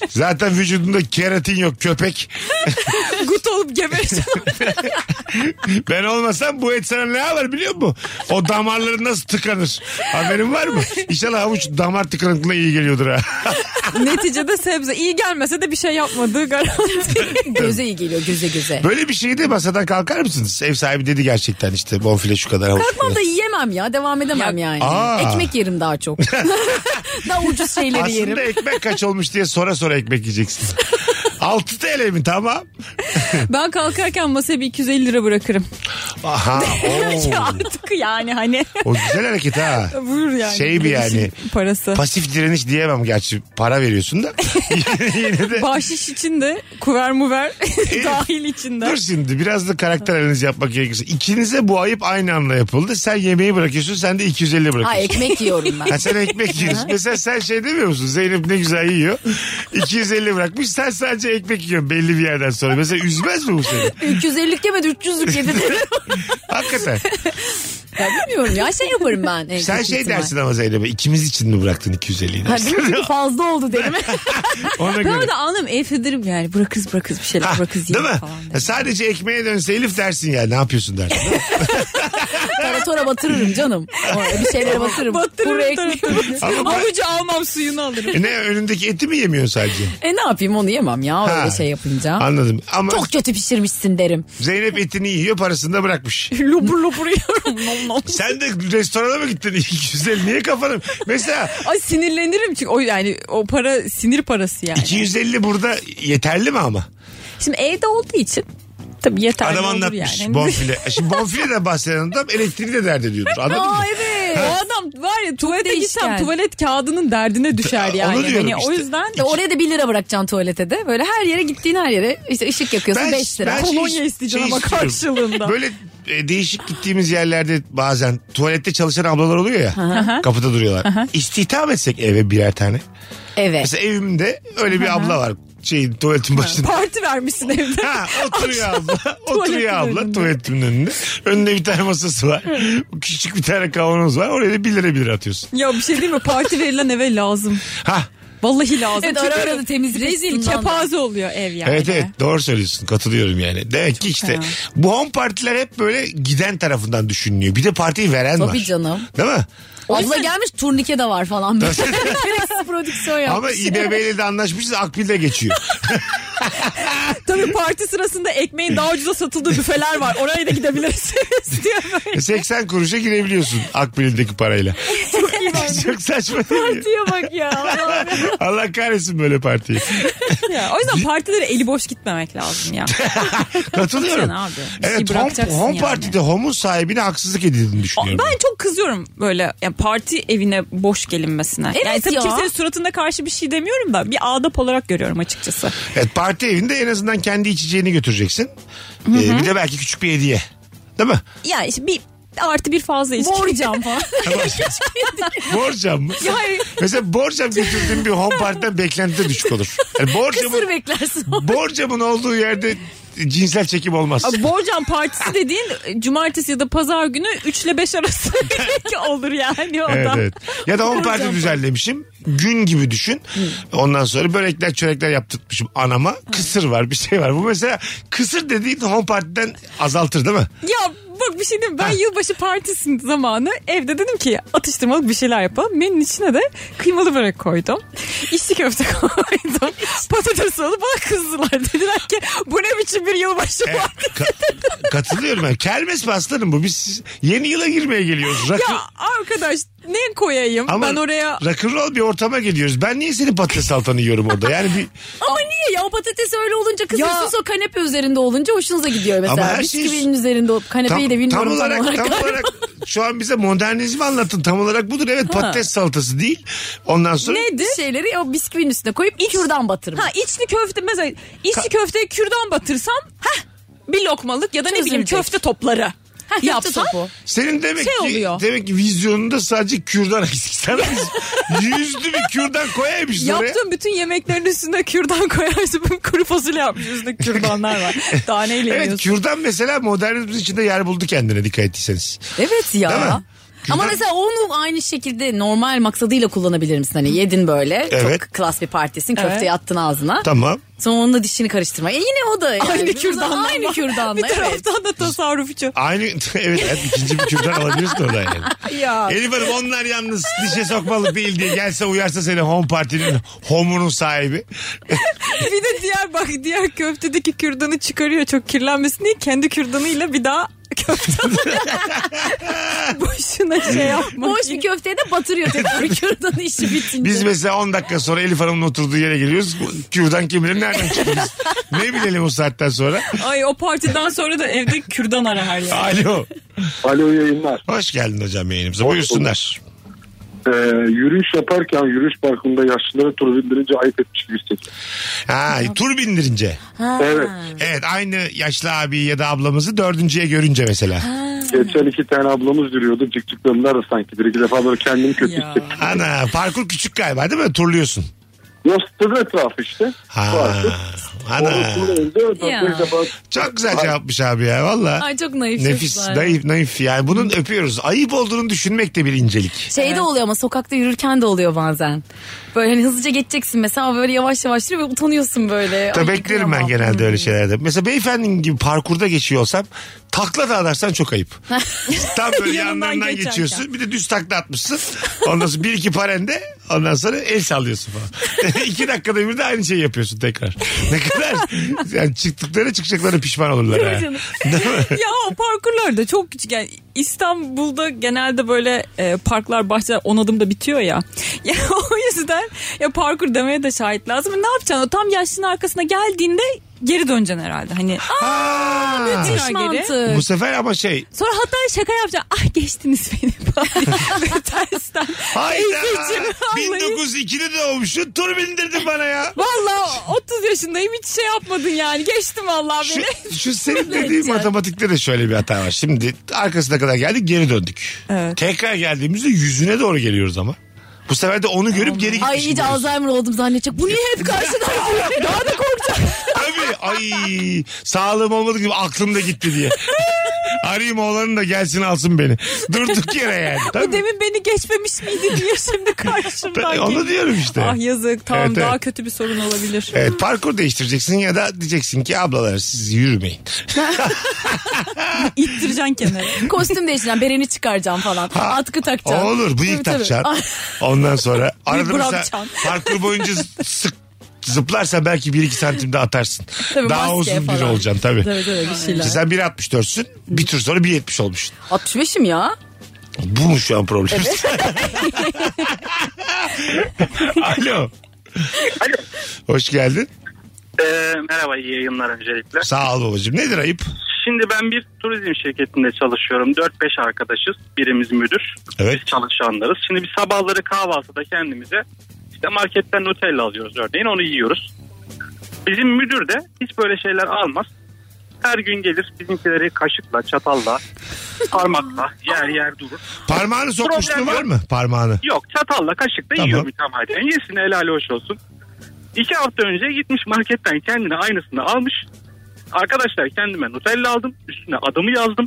C: Zaten vücudunda keratin yok köpek.
D: Gut olup gebereceğim.
C: Ben olmasam bu et sana ne yapar biliyor musun? O damarları nasıl tıkanır? Haberin var mı? İnşallah havuç damar tıkanıklığına iyi geliyordur ha.
D: <laughs> Neticede sebze iyi gelmese de bir şey yapmadığı <laughs> garanti.
E: Göze iyi geliyor göze göze.
C: Böyle bir şeyi de masadan kalkar mısınız? Ev sahibi dedi gerçekten işte bonfile şu kadar havuç.
E: Kalkmam da yiyemem ya devam edemem yani.
C: Aa.
E: Ekmek yerim
C: <laughs>
E: daha çok. daha ucuz şeyleri yerim.
C: Aslında ekmek kaç olmuş diye sonra sonra ekmek
E: <laughs>
C: yiyeceksin. 6 TL mi tamam?
D: ben kalkarken masaya bir 250 lira bırakırım.
E: <laughs>
C: Aha.
D: Ya
C: oo.
D: Artık yani hani.
C: O güzel hareket
E: <laughs>
C: ha.
D: Buyur yani.
C: Şey bir yani.
D: Parası.
C: Pasif direniş diyemem gerçi para veriyorsun
E: <laughs>
C: da. Yine de.
D: Bahşiş için de
C: <laughs>
D: kuver muver dahil içinde.
C: Dur şimdi biraz da karakter analizi yapmak gerekirse. İkinize bu ayıp aynı anda yapıldı. Sen yemeği bırakıyorsun sen de 250
E: Ha
C: bırakıyorsun.
E: ekmek yiyorum <laughs> ben.
C: Ha, sen ekmek yiyorsun. Mesela sen şey demiyor musun? Zeynep ne güzel yiyor. 250 bırakmış. Sen sadece ekmek yiyorsun belli bir yerden sonra. Mesela üzmez mi bu seni?
E: 350'lik yemedi 300'lük yedi derim.
C: Hakikaten.
E: ya bilmiyorum ya şey yaparım ben. en
C: Sen
E: kötü
C: şey
E: ihtimal.
C: dersin ama Zeynep'e ikimiz için mi bıraktın 250'yi
E: Ha,
C: dersin.
E: değil mi? Çünkü fazla oldu derim.
C: <laughs> Ona
D: Ben
C: göre.
D: orada anlarım evdedim yani bırakırız bırakırız bir şeyler
C: Ha,
D: bırakırız
C: değil
D: yiyelim
C: mi?
D: falan.
C: Ya Sadece ekmeğe dönse Elif dersin ya ne yapıyorsun dersin. değil mi?
E: Taratora batırırım canım. Oraya bir şeylere batırırım. Kuru ekmek.
C: <laughs> Ama ben-
D: Avucu almam suyunu alırım.
C: E ne önündeki eti mi yemiyorsun sadece?
E: E ne yapayım onu yemem ya öyle
C: Ha,
E: şey yapınca.
C: Anladım. Ama
E: Çok kötü pişirmişsin derim.
C: Zeynep etini yiyor parasını da bırakmış.
D: <laughs> lubur lubur yiyorum. <laughs> Nom nom.
C: Sen de restorana mı gittin? <laughs> 250 niye kafanı? Mesela
D: Ay sinirlenirim çünkü o yani o para sinir parası yani.
C: 250 burada yeterli mi ama?
D: Şimdi evde olduğu için tabii yeterli
C: adam
D: olur
C: anlatmış
D: yani. <laughs>
C: bonfile. E, Şimdi bonfile de bahseden adam elektriği de dert ediyordur. Anladın mı?
E: Aa evet.
D: O adam var ya tuvalete gitsem
E: değişken.
D: tuvalet kağıdının derdine düşer
C: Onu
D: yani.
C: diyorum
D: Hani o
C: işte.
D: yüzden
E: De oraya da 1 lira bırakacaksın tuvalete de. Böyle her yere gittiğin her yere işte ışık yakıyorsun 5 lira.
C: şey-
D: Kolonya isteyeceğim ama
C: istiyorum.
D: karşılığında.
C: Böyle e, değişik gittiğimiz yerlerde bazen tuvalette çalışan ablalar oluyor ya. kapıda duruyorlar. İstihdam etsek eve birer tane.
E: Evet.
C: Mesela evimde öyle bir abla var. Şey tuvaletin başında.
D: parti vermişsin evde. <laughs>
C: Ha oturuyor abla.
D: Tuvaletin
C: oturuyor abla
D: önünde.
C: tuvaletimin önünde. Önünde bir tane masası var. Küçük bir tane kavanoz var. Oraya da 1 lira 1 lira atıyorsun.
D: Ya bir şey değil mi? Parti verilen eve lazım.
C: Ha
D: Vallahi lazım.
E: Evet, ara
D: Çünkü
E: ara da temizlik
D: Rezil
E: açısından da.
D: kepaze oluyor ev yani.
C: evet evet doğru söylüyorsun katılıyorum yani. Demek ki işte bu home partiler hep böyle giden tarafından düşünülüyor. Bir de partiyi veren var.
E: Tabii canım.
C: Değil mi?
E: Abla gelmiş turnike de var falan böyle.
C: <laughs>
E: Gereksiz prodüksiyon
C: Ama
E: yapmış.
C: İBB ile de anlaşmışız Akbil'de geçiyor.
D: <laughs> Tabii parti sırasında ekmeğin daha ucuza satıldığı büfeler var. Oraya da gidebilirsiniz <laughs> diyor böyle.
C: 80 E, kuruşa girebiliyorsun Akbil'deki parayla. <laughs> Çok saçma değil mi?
D: Diye bak ya. Allah'ım ya.
C: <laughs> Allah kahretsin böyle partiyi.
D: Ya, O yüzden partilere eli boş gitmemek
C: <laughs>
D: lazım ya.
C: Katılıyorum.
D: Sen abi, bir şey
C: Evet home,
D: bırakacaksın
C: home
D: yani.
C: partide home'un sahibine haksızlık edildiğini
D: O-
C: düşünüyorum.
D: Ben çok kızıyorum böyle yani parti evine boş gelinmesine. yani
E: Evet
D: tabii
E: ya.
D: kimsenin suratında karşı bir şey demiyorum da bir adap olarak görüyorum açıkçası.
C: Evet, parti evinde en azından kendi içeceğini götüreceksin. Ee, bir de belki küçük bir hediye. Değil mi?
D: Ya işte bir artı bir fazla içki.
E: Borcam falan.
C: borcam mı? Mesela borcam götürdüğün bir home partiden beklenti de düşük olur. Yani
E: Kısır
C: borcamın,
E: beklersin.
C: borcamın olduğu yerde cinsel çekim olmaz.
D: Abi Borcam partisi dediğin e, cumartesi ya da pazar günü 3 ile 5 arası <laughs> olur yani o
C: Evet,
D: da.
C: evet. Ya da home parti düzenlemişim. Gün gibi düşün. Ondan sonra börekler çörekler yaptırtmışım anama. Kısır var bir şey var. Bu mesela kısır dediğin home partiden azaltır değil mi?
D: Ya bak bir şey diyeyim mi? ben yılbaşı partisi zamanı evde dedim ki atıştırmalık bir şeyler yapalım. Menünün içine de kıymalı börek koydum. İçli köfte <laughs> koydum. Patates alıp bana kızdılar. Dediler ki bu ne biçim bir yılbaşı
C: Evet,
D: var.
C: E, ka- katılıyorum ben. Kermes baslarım bu. Biz yeni yıla girmeye geliyoruz. Rakı,
D: Ya arkadaş ne koyayım
C: ama
D: ben oraya?
C: rock'n'roll bir ortama geliyoruz. Ben niye senin patates salatanı yiyorum orada? Yani bir,
E: Ama niye ya o patates öyle olunca kızıyorsunuz
D: Ya.
E: o kanepe üzerinde olunca hoşunuza gidiyor
C: Ama
E: mesela.
C: her şey-
E: Bisküvinin üzerinde o kanepeyi
C: tam,
E: de bilmiyorum
C: tam olarak,
E: <laughs>
C: tam olarak şu an bize modernizmi anlattın. Tam olarak budur. Evet patates salatası değil. Ondan sonra
E: Neydi? Şeyleri o bisküvinin üstüne koyup kürdan batırma.
D: Ha içli köfte mesela içli köfteye kürdan batırsam heh, bir lokmalık ya da ne bileyim
E: Çözülecek.
D: köfte topları.
E: Köfte
D: yapsam
E: topu.
C: Senin demek
D: Şey
C: ki
D: oluyor.
C: demek ki vizyonunda sadece kürdan <laughs> eksik. Sana biz yüzlü bir kürdan koyaymışız oraya.
D: Yaptığım bütün yemeklerin üstüne kürdan koyarsın. Kuru fasulye yapmış üstünde kürdanlar
E: <laughs>
D: var. Taneyle
C: Evet
D: yiyorsun.
C: kürdan mesela modernizmin içinde yer buldu kendine dikkat ettiyseniz.
E: Evet ya.
C: Değil mi?
E: Ama
C: Kürdan-
E: mesela onu aynı şekilde normal maksadıyla kullanabilir misin? Hani yedin böyle
C: Evet.
E: çok klas bir partisin köfteyi
D: Evet.
E: attın ağzına.
C: Tamam.
E: Sonra onun da dişini karıştırma. E yine o da yani.
D: Aynı
E: Biraz
D: kürdanla.
E: Aynı kürdanla.
D: Bir <laughs>
E: evet.
D: taraftan da tasarrufçu.
C: Aynı <laughs> evet, evet ikinci bir kürdan alabiliyorsun orada
D: <laughs>
C: yani.
D: Ya.
C: Elif Hanım onlar yalnız dişe sokmalı değil diye gelse uyarsa seni home partinin homunun sahibi.
D: Bir de diğer bak diğer köftedeki kürdanı çıkarıyor çok kirlenmesin diye kendi kürdanıyla bir daha
E: <laughs>
D: köfte <laughs> alıyor. Boşuna şey yapma.
E: Boş bir köfteye de
C: <laughs>
E: batırıyor tekrar kürdanı işi bitince.
C: Biz mesela 10 dakika sonra Elif Hanım'ın oturduğu yere geliyoruz. Bu Kürdan kim bilir nereden çıktı biz? Ne bilelim o saatten sonra?
D: Ay o partiden sonra da evde kürdan arar yani.
C: Alo.
H: Alo yayınlar.
C: Hoş geldin hocam yayınımıza. Buyursunlar.
H: Ee, yürüyüş yaparken yürüyüş parkında yaşlılara tur bindirince ayıp etmiş gibi hissediyorum.
C: Ha, tur bindirince.
H: Evet.
C: Evet aynı yaşlı abi ya da ablamızı dördüncüye görünce mesela.
H: Geçen iki tane ablamız yürüyordu. Cıkcıklarında da sanki bir iki defa böyle kendimi kötü
D: Ya.
H: hissettim.
C: Ana parkur küçük galiba değil mi? Turluyorsun.
H: Yostadı etrafı işte.
C: Ha. Ana.
E: Ya.
C: Çok güzel cevapmış abi ya valla.
E: <laughs> Ay çok naif
C: Nefis,
E: çocuklar.
C: naif, naif. Yani bunun öpüyoruz. Ayıp olduğunu düşünmek de bir incelik.
E: Şey de oluyor ama sokakta yürürken de oluyor bazen. Böyle hani hızlıca geçeceksin mesela ama böyle yavaş yavaş yürüyor ve utanıyorsun böyle.
C: Tabii
E: Ay,
C: beklerim ben
E: yıkılamam.
C: genelde öyle şeylerde. Mesela beyefendinin gibi parkurda geçiyor olsam takla da atarsan çok
D: <laughs>
C: ayıp. Tam böyle
D: Yanından
C: yanlarından
D: geçerken.
C: geçiyorsun. Bir de düz takla atmışsın. Ondan sonra bir iki parende ondan sonra el sallıyorsun falan. <laughs> iki dakikada bir de aynı şeyi yapıyorsun tekrar. Ne kadar yani çıktıkları çıkacakları pişman olurlar. ha.
D: canım.
C: <laughs> Değil mi?
D: ya o parkurlar da çok küçük. Yani İstanbul'da genelde böyle e, parklar bahçeler 10 adımda bitiyor ya. <laughs> Ya o yüzden ya parkur demeye de şahit lazım. Ne yapacaksın? O tam yaşlının arkasına geldiğinde geri döneceksin herhalde. Hani
C: Ha.
E: Kış mantığı.
C: Bu sefer ama şey
D: Sonra hatta şaka yapacağım. Ah geçtiniz beni
C: <laughs>
D: falan. Böyle tersten.
C: hayda
D: Teyzeciğim, vallahi.
C: 1902'de doğmuşsun tur bindirdin bana ya.
D: Valla 30 yaşındayım hiç şey yapmadın yani. Geçtim vallahi beni.
C: Şu, şu senin dediğin matematikte de şöyle bir hata var. Şimdi arkasına kadar geldik geri döndük.
D: Evet.
C: Tekrar geldiğimizde yüzüne doğru geliyoruz ama. Bu sefer de onu görüp geri gitmiş.
E: Ay iyice
C: gibiyiz.
E: Alzheimer oldum zannedecek. Bu niye hep karşıda?
D: <laughs>
E: Daha da korkacağım.
C: <laughs> Tabii. Ay sağlığım olmadı gibi aklım da gitti diye. Arayayım oğlanı da gelsin alsın beni. Durduk yere yani. Tabii.
D: Bu demin beni geçmemiş miydi diye şimdi karşımdan.
C: Tabii, onu
D: geliyor.
C: diyorum işte.
D: Ah yazık tamam
C: Evet,
D: daha
C: evet.
D: kötü bir sorun olabilir.
C: Evet parkur değiştireceksin ya da diyeceksin ki ablalar siz yürümeyin.
D: İttireceksin kenara.
E: <laughs> Kostüm değiştireceğim. Bereni çıkaracağım falan. Atkı takacağım.
C: Olur
E: Tabii, Ah.
C: bıyık
E: tabii. <laughs>
C: takacaksın. Ondan sonra arada mesela
D: bırakacaksın.
C: parkur boyunca z- sık zıplarsa belki 1-2 santim de atarsın.
E: Tabii,
C: Daha
E: maske
C: uzun biri
E: falan.
C: olacaksın tabii.
E: Tabii tabii bir şeyler.
C: İşte sen 1.64'sün bir tur sonra 1.70 olmuşsun.
E: 65'im ya.
C: Bu mu şu an problem? <laughs> Alo.
F: Alo.
C: Hoş geldin.
F: Ee, merhaba iyi yayınlar öncelikle.
C: Sağ ol babacığım. Nedir ayıp?
F: Şimdi ben bir turizm şirketinde çalışıyorum. 4-5 arkadaşız. Birimiz müdür.
C: Evet.
F: Biz çalışanlarız. Şimdi biz sabahları kahvaltıda kendimize işte marketten Nutella alıyoruz örneğin onu yiyoruz. Bizim müdür de hiç böyle şeyler almaz. Her gün gelir bizimkileri kaşıkla, çatalla, parmakla yer yer durur.
C: Parmağını sokmuşluğu var mı? Parmağını.
F: Yok çatalla kaşıkla
C: Tamam.
F: yiyor mütemadiyen. Yesin helali hoş olsun. İki hafta önce gitmiş marketten kendine aynısını almış. Arkadaşlar kendime Nutella aldım. Üstüne adımı yazdım.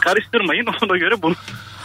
F: Karıştırmayın <laughs> ona göre bunu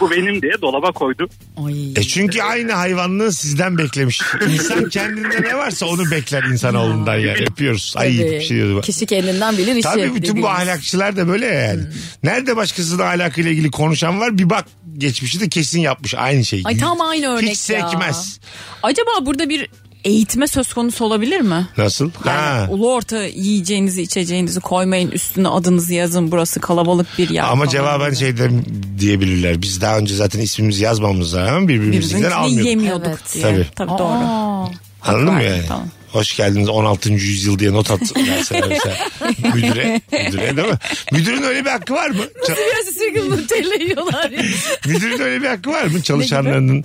F: bu benim diye dolaba koydu.
E: Ay.
C: E çünkü aynı hayvanlığı sizden beklemiş.
E: <laughs>
C: İnsan kendinde ne varsa onu bekler insanoğlundan yani. Öpüyoruz. Ay
E: Tabii.
C: bir şey diyordum. ben.
E: Kişi kendinden bilir işi.
C: Tabii bütün
E: dediğimiz.
C: bu ahlakçılar da böyle
E: Hmm.
C: yani. Nerede başkasının ahlakıyla ilgili konuşan var bir bak geçmişi de kesin yapmış aynı şeyi.
E: Ay tam aynı örnek
C: Hiç
E: ya.
C: sekmez.
D: Acaba burada bir eğitme söz konusu olabilir mi?
C: Nasıl? Ha.
D: Yani ulu orta yiyeceğinizi içeceğinizi koymayın üstüne adınızı yazın burası kalabalık bir yer.
C: Ama
D: falan.
C: cevaben şeyden diyebilirler. Biz daha önce zaten ismimizi yazmamamıza rağmen birbirimizden
D: Birbirimizi
C: almıyorduk.
D: yemiyorduk
E: Evet.
D: diye.
C: Tabii.
D: Tabii,
E: Aa.
D: doğru.
C: Anladın mı
D: Var,
C: yani?
D: tamam.
C: Hoş geldiniz 16. yüzyıl diye not at verseler mesela. müdüre, müdüre değil mi? Müdürün öyle bir hakkı var mı? Ça-
E: Biraz sürekli Nutella
D: <laughs>
E: yiyorlar ya.
C: Müdürün öyle bir hakkı var mı? Çalışanlarının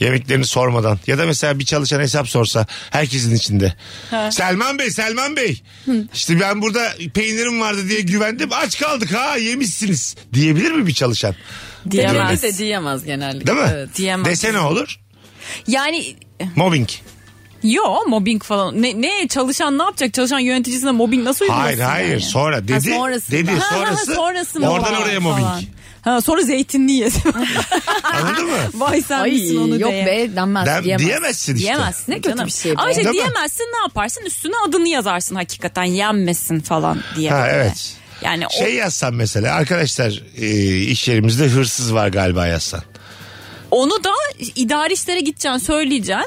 C: yemeklerini sormadan. Ya da mesela bir çalışan hesap sorsa herkesin içinde. Selman Bey, Selman Bey. işte ben burada peynirim vardı diye güvendim. Aç kaldık ha yemişsiniz. Diyebilir mi bir çalışan?
E: Diyemez. de diyemez genellikle.
C: Değil mi?
E: Evet.
D: diyemez.
C: Dese ne olur?
D: Yani
C: Mobbing.
D: yo mobbing falan. Ne, ne çalışan ne yapacak? Çalışan yöneticisine mobbing nasıl uygulasın?
C: Hayır hayır
D: yani?
C: sonra dedi.
E: sonrasında.
C: Dedi
E: Ha,
D: ha,
C: sonrası.
D: sonrasında
C: oradan
D: falan,
C: oraya mobbing.
D: falan. Ha, sonra zeytinli yedim.
C: Anladın mı?
D: <laughs> Vay sen
E: Ay
D: misin onu
E: yok
D: diye.
E: be denmez
C: Ben-
E: diyemez.
C: diyemezsin işte.
E: Diyemezsin, ne kötü
D: Canım.
E: bir şey be.
D: Ama şey
C: Değil mi?
D: diyemezsin ne yaparsın üstüne adını yazarsın hakikaten yenmesin falan diye.
C: Ha,
D: böyle.
C: evet.
D: Yani o-
C: Şey yazsan mesela arkadaşlar e, iş yerimizde hırsız var galiba yazsan.
D: onu da idari işlere gideceksin söyleyeceksin.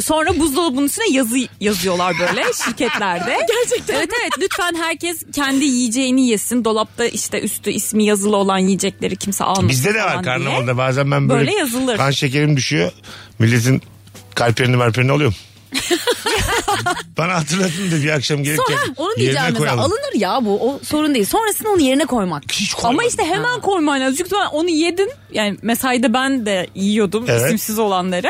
D: Sonra buzdolabının üstüne yazı yazıyorlar
E: <laughs>
D: böyle şirketlerde. Gerçekten. Evet evet lütfen herkes kendi yiyeceğini yesin. Dolapta işte üstü ismi yazılı olan yiyecekleri kimse almasın
C: Bizde de
D: falan
C: var
D: diye.
C: karnavalda bazen ben böyle,
D: Böyle yazılır.
C: kan şekerim düşüyor. Milletin kalperini marperini
D: <laughs>
C: alıyorum. Bana hatırlatın da bir akşam gelirken
E: Sonra onu
C: yerine
E: diyeceğim mesela
C: koyalım.
E: alınır ya bu o sorun değil. Sonrasını onu yerine koymak.
C: Hiç koymadım.
D: Ama işte hemen koyman lazım. Çünkü ben onu yedin. Yani mesaide ben de yiyordum
C: Evet.
D: isimsiz olanları.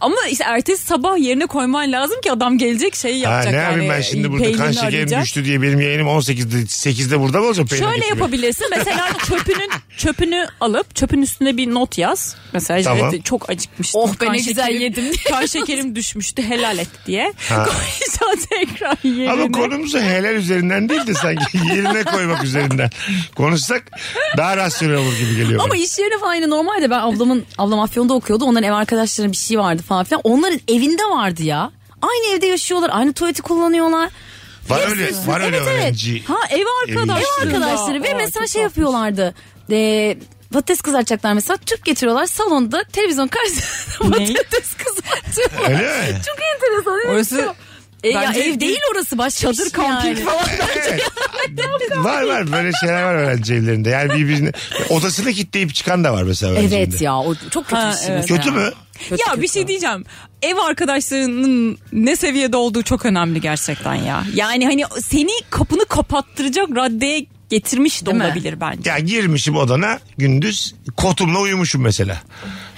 D: Ama işte ertesi sabah yerine koyman lazım ki adam gelecek şeyi
C: Ha,
D: yapacak.
C: ne
D: yani, e,
C: yapayım ben şimdi burada kan
D: peynirini
C: şekerim
D: arayacak.
C: düştü diye benim yayınım 18'de 8'de burada mı olacak? peynir
D: Şöyle
C: getirmeye?
D: yapabilirsin.
C: <laughs>
D: Mesela çöpünün çöpünü alıp çöpün üstüne bir not yaz. Mesela
C: Tamam.
D: evet, çok acıkmıştım.
E: Oh be,
D: Kan
E: ne güzel
D: şekerim-
E: yedim.
D: <laughs> Kan şekerim düşmüştü helal et diye. <laughs>
C: Ha.
D: Koyacağım tekrar yerine.
C: Ama konumuzu helal üzerinden değil de sanki <laughs> yerine koymak üzerinden konuşsak daha rasyonel olur gibi geliyor.
E: Ama
C: bana.
E: iş yerine falan yine normalde ben ablamın ablam Afyon'da okuyordu. Onların ev arkadaşlarının bir şey vardı falan filan. Onların evinde vardı ya. Aynı evde yaşıyorlar. Aynı tuvaleti kullanıyorlar.
C: var öyle,
E: Hepsi-
C: var öyle
E: evet, evet.
C: öğrenci.
D: Ha ev arkadaşları.
E: Ev arkadaşları ve
D: Aa,
E: mesela
D: çok
E: şey
D: tatlı.
E: yapıyorlardı. E, patates kızartacaklar mesela. Tüp getiriyorlar salonda televizyon
D: <laughs>
E: karşısında <laughs>
D: Ne?
E: patates kızartıyorlar.
C: Öyle mi?
E: Çok enteresan. evet.
D: Orası
E: E, ya
D: Bence
E: ev
D: bir-
E: değil orası başka bir
D: çadır
E: şey yani.
D: kamping falan.
C: Evet. var var böyle şeyler var öğrenci evlerinde. Yani birbirine odasını kilitleyip çıkan da var mesela öğrenci
E: Evet
C: evinde.
E: ya o çok kötü
D: Ha,
E: bir şey
D: evet.
E: mesela.
C: Kötü mü?
D: ya bir şey diyeceğim. Ev arkadaşlarının ne seviyede olduğu çok önemli gerçekten ya. Yani hani seni kapını kapattıracak raddeye getirmiş de
E: Değil mi?
D: olabilir bence.
C: Ya girmişim odana gündüz kotumla uyumuşum mesela.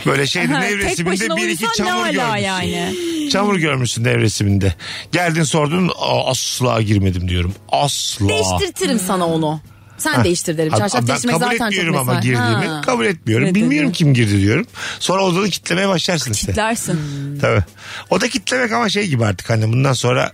C: Böyle şeyde
D: Ha,
C: ev
D: tek
C: resiminde
D: başına
C: bir iki
D: uyusan ne
C: çamur
D: ala
C: görmüşsün.
D: yani?
C: Çamur görmüşsün ev resiminde. Geldin sordun "Aa, asla girmedim diyorum. Asla.
E: Değiştirtirim sana onu. Sen değiştir derim.
C: Ha,
E: Çarşaf
C: ben
E: değiştirmek
C: kabul
E: zaten çok
C: etmiyorum ama
E: mesai.
C: girdiğimi.
E: Ha.
C: Kabul etmiyorum.
D: Ne
C: Bilmiyorum
D: dedi?
C: kim girdi diyorum. Sonra odanı kitlemeye başlarsın işte.
D: Kitlersin.
E: Hmm.
C: Tabii. O da kitlemek ama şey gibi artık hani bundan sonra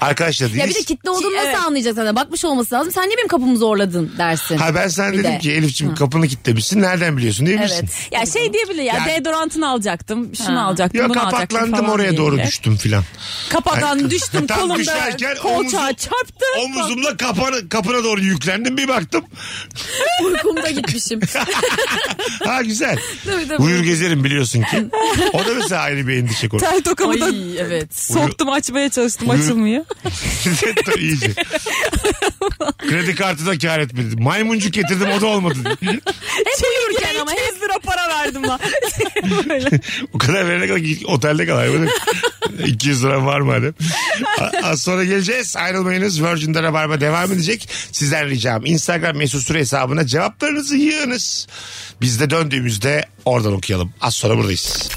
C: arkadaşlar değiliz.
E: Ya bir de kitle olduğunu nasıl
D: Evet.
E: anlayacak zaten? Bakmış olması lazım. Sen niye benim kapımı zorladın dersin.
C: Ha ben sana
E: Bir
C: dedim
E: de.
C: ki Elif'ciğim kapını kitlemişsin. Nereden biliyorsun diye bilirsin.
E: Evet.
D: Ya şey diyebilir ya,
C: Ya-
D: deodorantını alacaktım, şunu
E: Ha.
D: alacaktım,
C: Ya
D: bunu alacaktım
C: kapaklandım
D: falan
C: oraya doğru
D: diyebilir.
C: düştüm
E: <laughs>
C: filan.
D: Kapaklandım düştüm
C: Tam
D: kolumda
C: düşerken
D: kolçağa
C: omuzum-
D: çarptı.
C: Omuzumla kapana, kapına doğru yüklendim bir baktım. <laughs>
E: Uykumda gitmişim.
C: Ha güzel.
E: <laughs> Tabii, tabii.
C: Uyur gezerim biliyorsun
E: <laughs>
C: ki. O da mesela ayrı bir endişe konu.
D: Tel tokamı da
E: Ay evet.
D: soktum açmaya çalıştım
C: Uyu-
D: açılmıyor.
C: Tabii, iyice. Kredi kartı da kar etmedi. Maymuncuk getirdim o da olmadı.
E: Hep uyurken
D: Yani
E: ama
D: 200 lira para verdim lan. Böyle.
C: O kadar verene kadar git- otelde kal. hayvanım. 200 lira var mı hani? A- Az sonra geleceğiz. Ayrılmayınız. Virgin'de Rabarba devam edecek. Sizden ricam Instagram mesut süre hesabına cevaplarınızı yığınız. Biz de döndüğümüzde oradan okuyalım. Az sonra buradayız.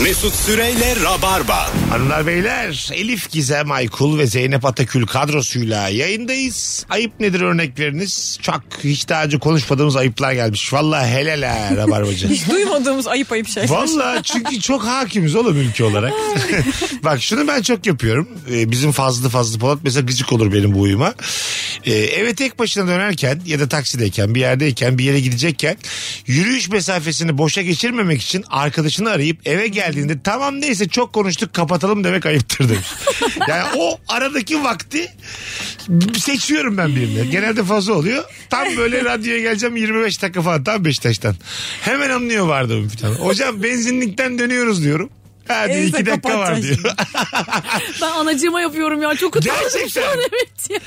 B: Mesut Süreyle Rabarba.
C: Hanımlar beyler Elif Gizem Aykul ve Zeynep Atakül kadrosuyla yayındayız. Ayıp nedir örnekleriniz? Çok hiç daha önce konuşmadığımız ayıplar gelmiş. Vallahi helal ha Rabarbacı.
D: Hiç duymadığımız ayıp ayıp
E: şey.
D: şeyler.
C: Valla çünkü çok hakimiz oğlum ülke olarak. <laughs> Bak şunu ben çok yapıyorum. Ee, bizim Fazlı Fazlı Polat mesela gıcık olur benim bu uyuma. Ee, eve tek başına dönerken ya da taksideyken bir yerdeyken bir yere gidecekken yürüyüş mesafesini boşa geçirmemek için arkadaşını arayıp eve geldiğinde tamam neyse çok konuştuk kapatalım demek ayıptır demiş. Yani o aradaki vakti seçiyorum ben birini. Genelde fazla oluyor. Tam böyle radyoya geleceğim 25 dakika falan tam Beşiktaş'tan. Hemen anlıyor vardı bir tane. Hocam benzinlikten dönüyoruz diyorum. Ha diyor,
D: Ense
C: iki dakika var diyor.
D: kapatacaksın.
E: ben anacığıma yapıyorum ya. Çok utandım şu
C: <laughs>
E: an
C: Gerçekten.
E: <laughs> evet
C: Şey-
E: ya.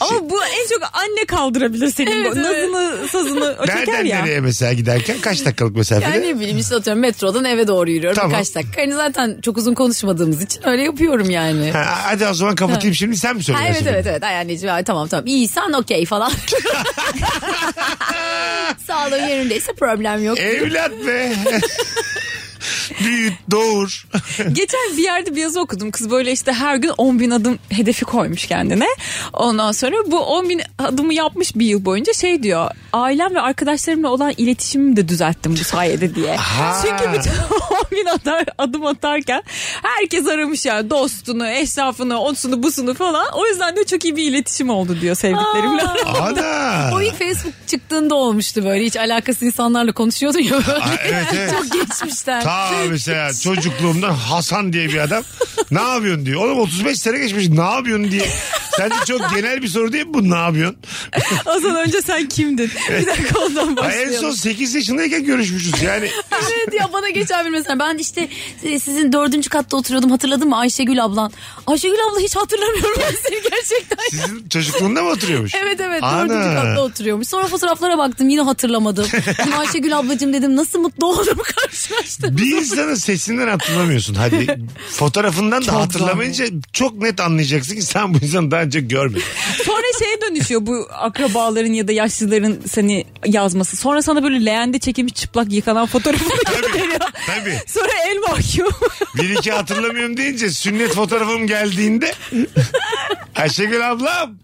D: Ama bu en çok anne kaldırabilir senin.
E: Evet,
D: bu
E: evet.
D: Nazını sazını o çeker
C: <laughs> Nereden
D: ya.
C: nereye mesela giderken kaç dakikalık mesafede?
E: Yani ne bileyim işte atıyorum metrodan eve doğru yürüyorum
C: Tamam.
E: birkaç dakika. Hani zaten çok uzun konuşmadığımız için öyle yapıyorum yani. Ha,
C: Ha, hadi o zaman kapatayım şimdi sen mi söylüyorsun?
E: evet evet evet. Ay anneciğim ay, tamam tamam. İyiysen okey falan. Sağlığın yerindeyse problem yok.
C: Evlat be. <laughs> Büyüt, doğur.
E: Geçen bir yerde bir yazı okudum. Kız böyle işte her gün 10 bin adım hedefi koymuş kendine. Ondan sonra bu 10 bin adımı yapmış bir yıl boyunca şey diyor. Ailem ve arkadaşlarımla olan iletişimimi de düzelttim bu sayede diye.
C: Ha.
E: Çünkü bütün <laughs> 10 bin atar, adım atarken herkes aramış yani dostunu, eşrafını, onsunu, busunu falan. O yüzden de çok iyi bir iletişim oldu diyor sevdiklerimle.
C: Ana.
D: O ilk Facebook çıktığında olmuştu böyle. Hiç alakası insanlarla konuşuyordun ya.
C: Aa,
D: <laughs>
C: evet, evet.
D: Çok geçmişten.
C: Ta mesela
D: şey,
C: çocukluğumdan Hasan diye bir adam ne yapıyorsun diyor. Oğlum 35 sene geçmiş ne yapıyorsun diye. Sence çok genel bir soru değil mi bu ne yapıyorsun?
E: Az önce sen kimdin? Bir dakika ondan
C: Ay, en
E: başlayalım.
C: son 8 yaşındayken görüşmüşüz yani.
D: <laughs> evet ya bana geçen bir mesela ben işte e, sizin dördüncü katta oturuyordum hatırladın mı Ayşegül ablan? Ayşegül abla hiç hatırlamıyorum ben seni gerçekten. <laughs>
C: Sizin çocukluğunda mı oturuyormuş?
D: Evet evet
C: Ana.
D: dördüncü katta oturuyormuş. Sonra fotoğraflara baktım
C: <laughs>
D: yine hatırlamadım. Dedim, Ayşegül ablacığım dedim nasıl mutlu oldum <laughs> karşılaştım.
C: Bir insanın sesinden hatırlamıyorsun. Hadi fotoğrafından da hatırlamayınca çok net anlayacaksın ki sen bu insanı daha önce görmedin.
E: Sonra şeye dönüşüyor bu akrabaların ya da yaşlıların seni yazması. Sonra sana böyle leğende çekilmiş çıplak yıkanan fotoğrafını
D: <laughs>
E: gönderiyor.
C: Tabii.
E: <laughs> Sonra el mahkum.
C: Bir iki hatırlamıyorum deyince sünnet fotoğrafım
D: <laughs>
C: geldiğinde Ayşegül ablam.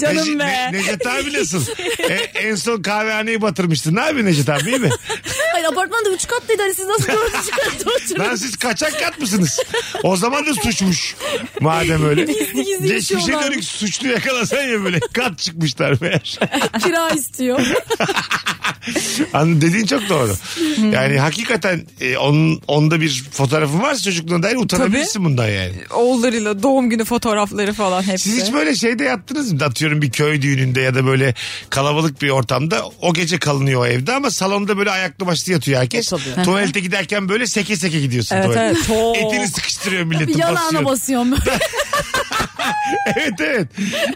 E: Canım
C: Nece-
E: be.
C: Ne, Necdet
D: <laughs>
C: abi nasıl? E, en son kahvehaneyi batırmıştın abi Necdet abi iyi mi?
D: Hayır apartmanda üç katlıydı hani siz nasıl
C: <laughs>
D: dördüncü katta
C: Lan
D: oturuyorsunuz?
C: siz kaçak kat mısınız? O zaman da suçmuş. Madem öyle.
D: Gizli gizli
C: Geçmişe
D: yaşıyorlar.
C: dönük suçlu yakalasan ya böyle kat çıkmışlar meğer.
D: Kira istiyor.
C: Anladın, dediğin çok doğru. Yani hakikaten e, onun, onda bir fotoğrafın varsa çocukluğuna dair utanabilirsin bundan yani.
E: Oğullarıyla doğum günü fotoğrafları falan hepsi.
C: Siz hiç böyle şeyde yattınız mı? Atıyorum bir köy düğününde ya da böyle kalabalık bir ortamda o gece kalınıyor o evde ama salonda böyle ayaklı başlı yatıyor herkes. Tuvalete giderken böyle seke seke gidiyorsun
E: E, Evet,
C: tuvalete.
E: evet, çok.
C: Etini sıkıştırıyor milletin
D: Yanağına
C: basıyor.
D: basıyorum böyle.
C: <laughs> evet evet.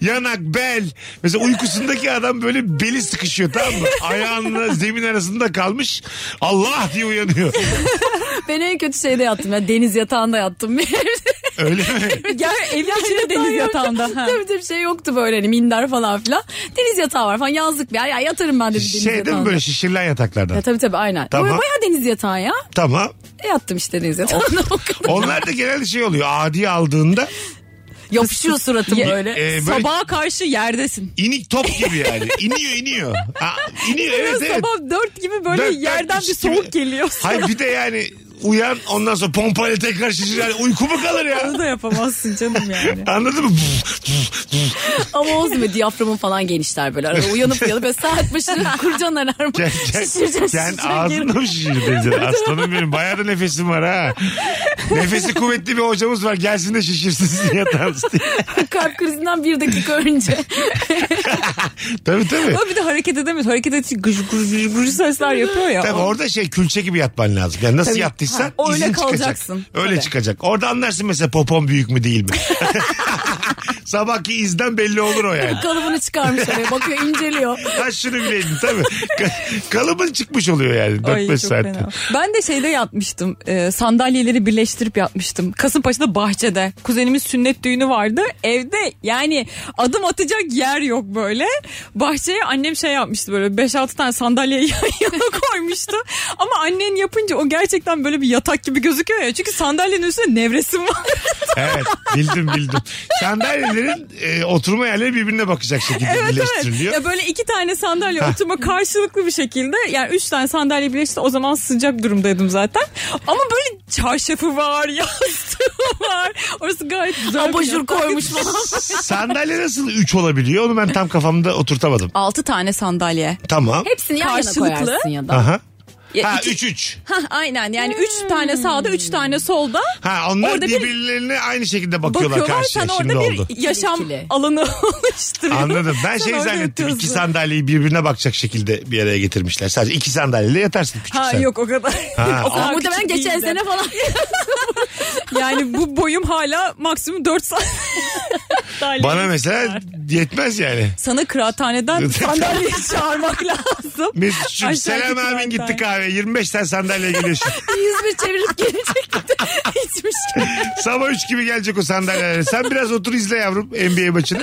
C: Yanak, bel. Mesela uykusundaki adam böyle beli sıkışıyor tamam mı? Ayağınla zemin arasında kalmış. Allah diye uyanıyor.
D: Ben en kötü şeyde yattım ya deniz yatağında
E: <laughs>
D: yattım.
C: Öyle mi?
E: Gel evin içinde deniz yatağında. ha.
D: Tabii tabii şey yoktu böyle hani minder falan filan. Deniz yatağı var falan yazlık bir yer. Ya yatarım ben de bir deniz
C: şey değil mi
D: yatağında.
C: böyle şişirilen yataklardan?
D: Ya tabii tabii aynen.
C: Tamam.
D: Baya Bayağı deniz yatağı ya.
C: Tamam.
D: E, Yattım işte deniz yatağında. <laughs> o kadar.
C: Onlar da genelde şey oluyor. Adi aldığında
D: Yapışıyor suratım
E: Ye-
D: böyle.
C: e, böyle
E: Sabaha karşı yerdesin.
C: İnik top gibi
E: <laughs>
C: yani. İniyor iniyor. Ha, iniyor evet evet.
E: Sabah dört gibi böyle
C: Dört, dört,
E: yerden
C: üç
E: bir soğuk
C: gibi.
E: geliyor.
C: Hayır bir de yani uyan ondan sonra pompayla tekrar şişir. Yani uyku mu kalır ya?
E: Onu da yapamazsın canım <laughs> yani.
C: Anladın mı?
D: Ama olsun be diyaframım falan genişler böyle. Arada uyanıp uyanıp böyle saat
E: <laughs>
D: başı kurcan alarmı.
C: Sen, sen,
D: Şişireceğim
C: sen
D: şişireceğim.
C: ağzını mı
E: <laughs>
C: şişirdin? Aslanım benim bayağı da nefesim var ha. Nefesi kuvvetli bir hocamız var. Gelsin de şişirsin sizin yatağınız
E: <laughs>
C: diye.
D: Kalp krizinden bir dakika önce.
C: Tabii tabii.
E: Ama bir de hareket edemiyor. Hareket edince gıcır gıcır gıcır sesler yapıyor ya.
C: Tabii orada şey külçe gibi yatman lazım. Yani nasıl yattıysan
E: Ha, öyle
C: izin
E: kalacaksın.
C: çıkacak. Öyle
E: Tabii.
C: çıkacak. Orada anlarsın mesela popon büyük mü değil mi?
E: <laughs>
C: Sabahki izden belli olur o yani.
D: Kalıbını çıkarmış oraya bakıyor inceliyor.
C: Kaç şunu bileydin tabii. Ka- Kalıbın çıkmış oluyor yani
E: Ay,
C: 4-5
E: çok
C: saatte.
E: fena. Ben de şeyde yatmıştım. e, sandalyeleri birleştirip yatmıştım. Kasımpaşa'da bahçede. Kuzenimin sünnet düğünü vardı. Evde yani adım atacak yer yok böyle. Bahçeye annem şey yapmıştı böyle 5-6 tane sandalye <laughs> yan yana koymuştu. Ama annen yapınca o gerçekten böyle bir yatak gibi gözüküyor ya. Çünkü sandalyenin üstünde nevresim var.
C: Evet bildim bildim. Sandalyelerin e, oturma yerleri birbirine bakacak şekilde birleştiriliyor.
E: Ya böyle iki tane sandalye oturma karşılıklı bir şekilde yani üç tane sandalye birleşti o zaman sıcak durumdaydım zaten. Ama böyle çarşafı var, <laughs> yastığı var. Orası gayet güzel. bir
D: Abajur
E: yatak.
D: koymuş falan.
C: Sandalye nasıl 3 olabiliyor onu ben tam kafamda oturtamadım.
E: Altı tane sandalye.
C: Tamam.
D: Hepsini yan yana
E: Karşılıklı.
D: koyarsın ya da.
C: Aha.
E: Ya
C: Ha
E: iki-
C: 3-3.
E: Hah, aynen yani
D: Hmm.
E: üç tane sağda üç tane solda
C: Ha onlar
E: Orada bir-
C: birbirlerine aynı şekilde bakıyorlar,
E: bakıyorlar.
C: karşıya.
E: Sen orada
C: Şimdi
E: bir
C: oldu.
E: yaşam
D: İkili.
E: alanı <laughs> oluşturuyorsun.
C: Anladım. Ben
E: Sen
C: şey
E: orada
C: zannettim.
E: yatıyorsun.
C: iki sandalyeyi birbirine bakacak şekilde bir araya getirmişler. Sadece iki sandalyeyle yatarsın küçük
E: Ha
C: sen.
E: yok o kadar.
D: <laughs>
C: Ha,
E: O kadar
D: Aa, muhtemelen
E: küçük
D: geçen
E: değildi.
D: sene <laughs> falan.
E: Yani bu boyum hala maksimum 4 saat.
C: <laughs>
D: sandalye.
C: Bana mesela yetmez yani. <laughs>
D: Sana kıraathaneden sandalye çağırmak lazım.
C: Mesut'cum
D: Aşağıdaki
C: selam abin gitti
D: kıraathane.
C: kahve. 25 tane sandalye geliyor
E: <laughs>
C: şimdi.
E: İzmir çevirip gelecek.
D: <laughs>
E: Hiçmiş.
D: şey
C: Sabah 3 gibi gelecek o sandalyeler. Sen biraz otur izle yavrum NBA maçını.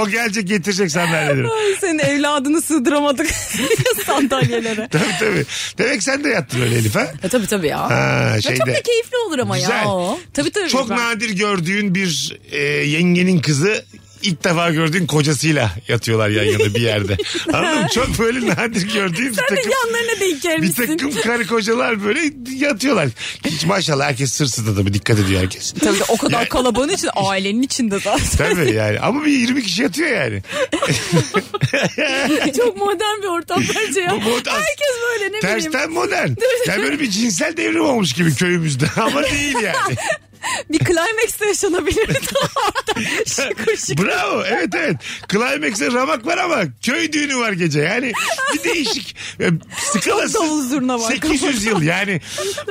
C: O gelecek getirecek sandalyeleri.
D: Ay, Senin evladını sığdıramadık <laughs> sandalyelere.
C: tabii tabii. Demek sen de yattın öyle Elif ha?
E: E, tabii tabii ya.
C: Ha,
E: Ya çok da
C: şeyde.
E: keyifli olur ama
C: Güzel.
E: ya o.
D: Tabii tabii.
C: Çok
D: Ben-
C: nadir gördüğün bir e, yengenin kızı ilk defa gördüğün kocasıyla yatıyorlar yan yana bir
D: <laughs>
C: yerde. Anladın mı? Çok böyle nadir gördüğün bir takım,
D: Yanlarına denk
C: bir
D: gelmişsin.
C: takım karı kocalar böyle yatıyorlar. Hiç maşallah herkes sırsızda tabii dikkat ediyor herkes.
D: Tabii de o kadar kalabalığın için ailenin içinde zaten.
C: Tabii yani ama bir 20 kişi yatıyor yani.
E: Çok modern bir
C: <laughs>
E: ortam bence ya.
C: Bu modern.
E: Herkes böyle ne bileyim.
C: Tersten modern. Yani böyle bir cinsel devrim olmuş gibi köyümüzde <laughs> ama değil
D: <laughs>
C: yani.
D: Bir climax de <laughs> yaşanabilirdi orada. Şıkır şıkır.
C: Bravo evet evet. Climax'e ramak var ama köy düğünü var gece. Yani bir değişik e, skalası.
D: Davul zurna var.
C: 800 yıl yani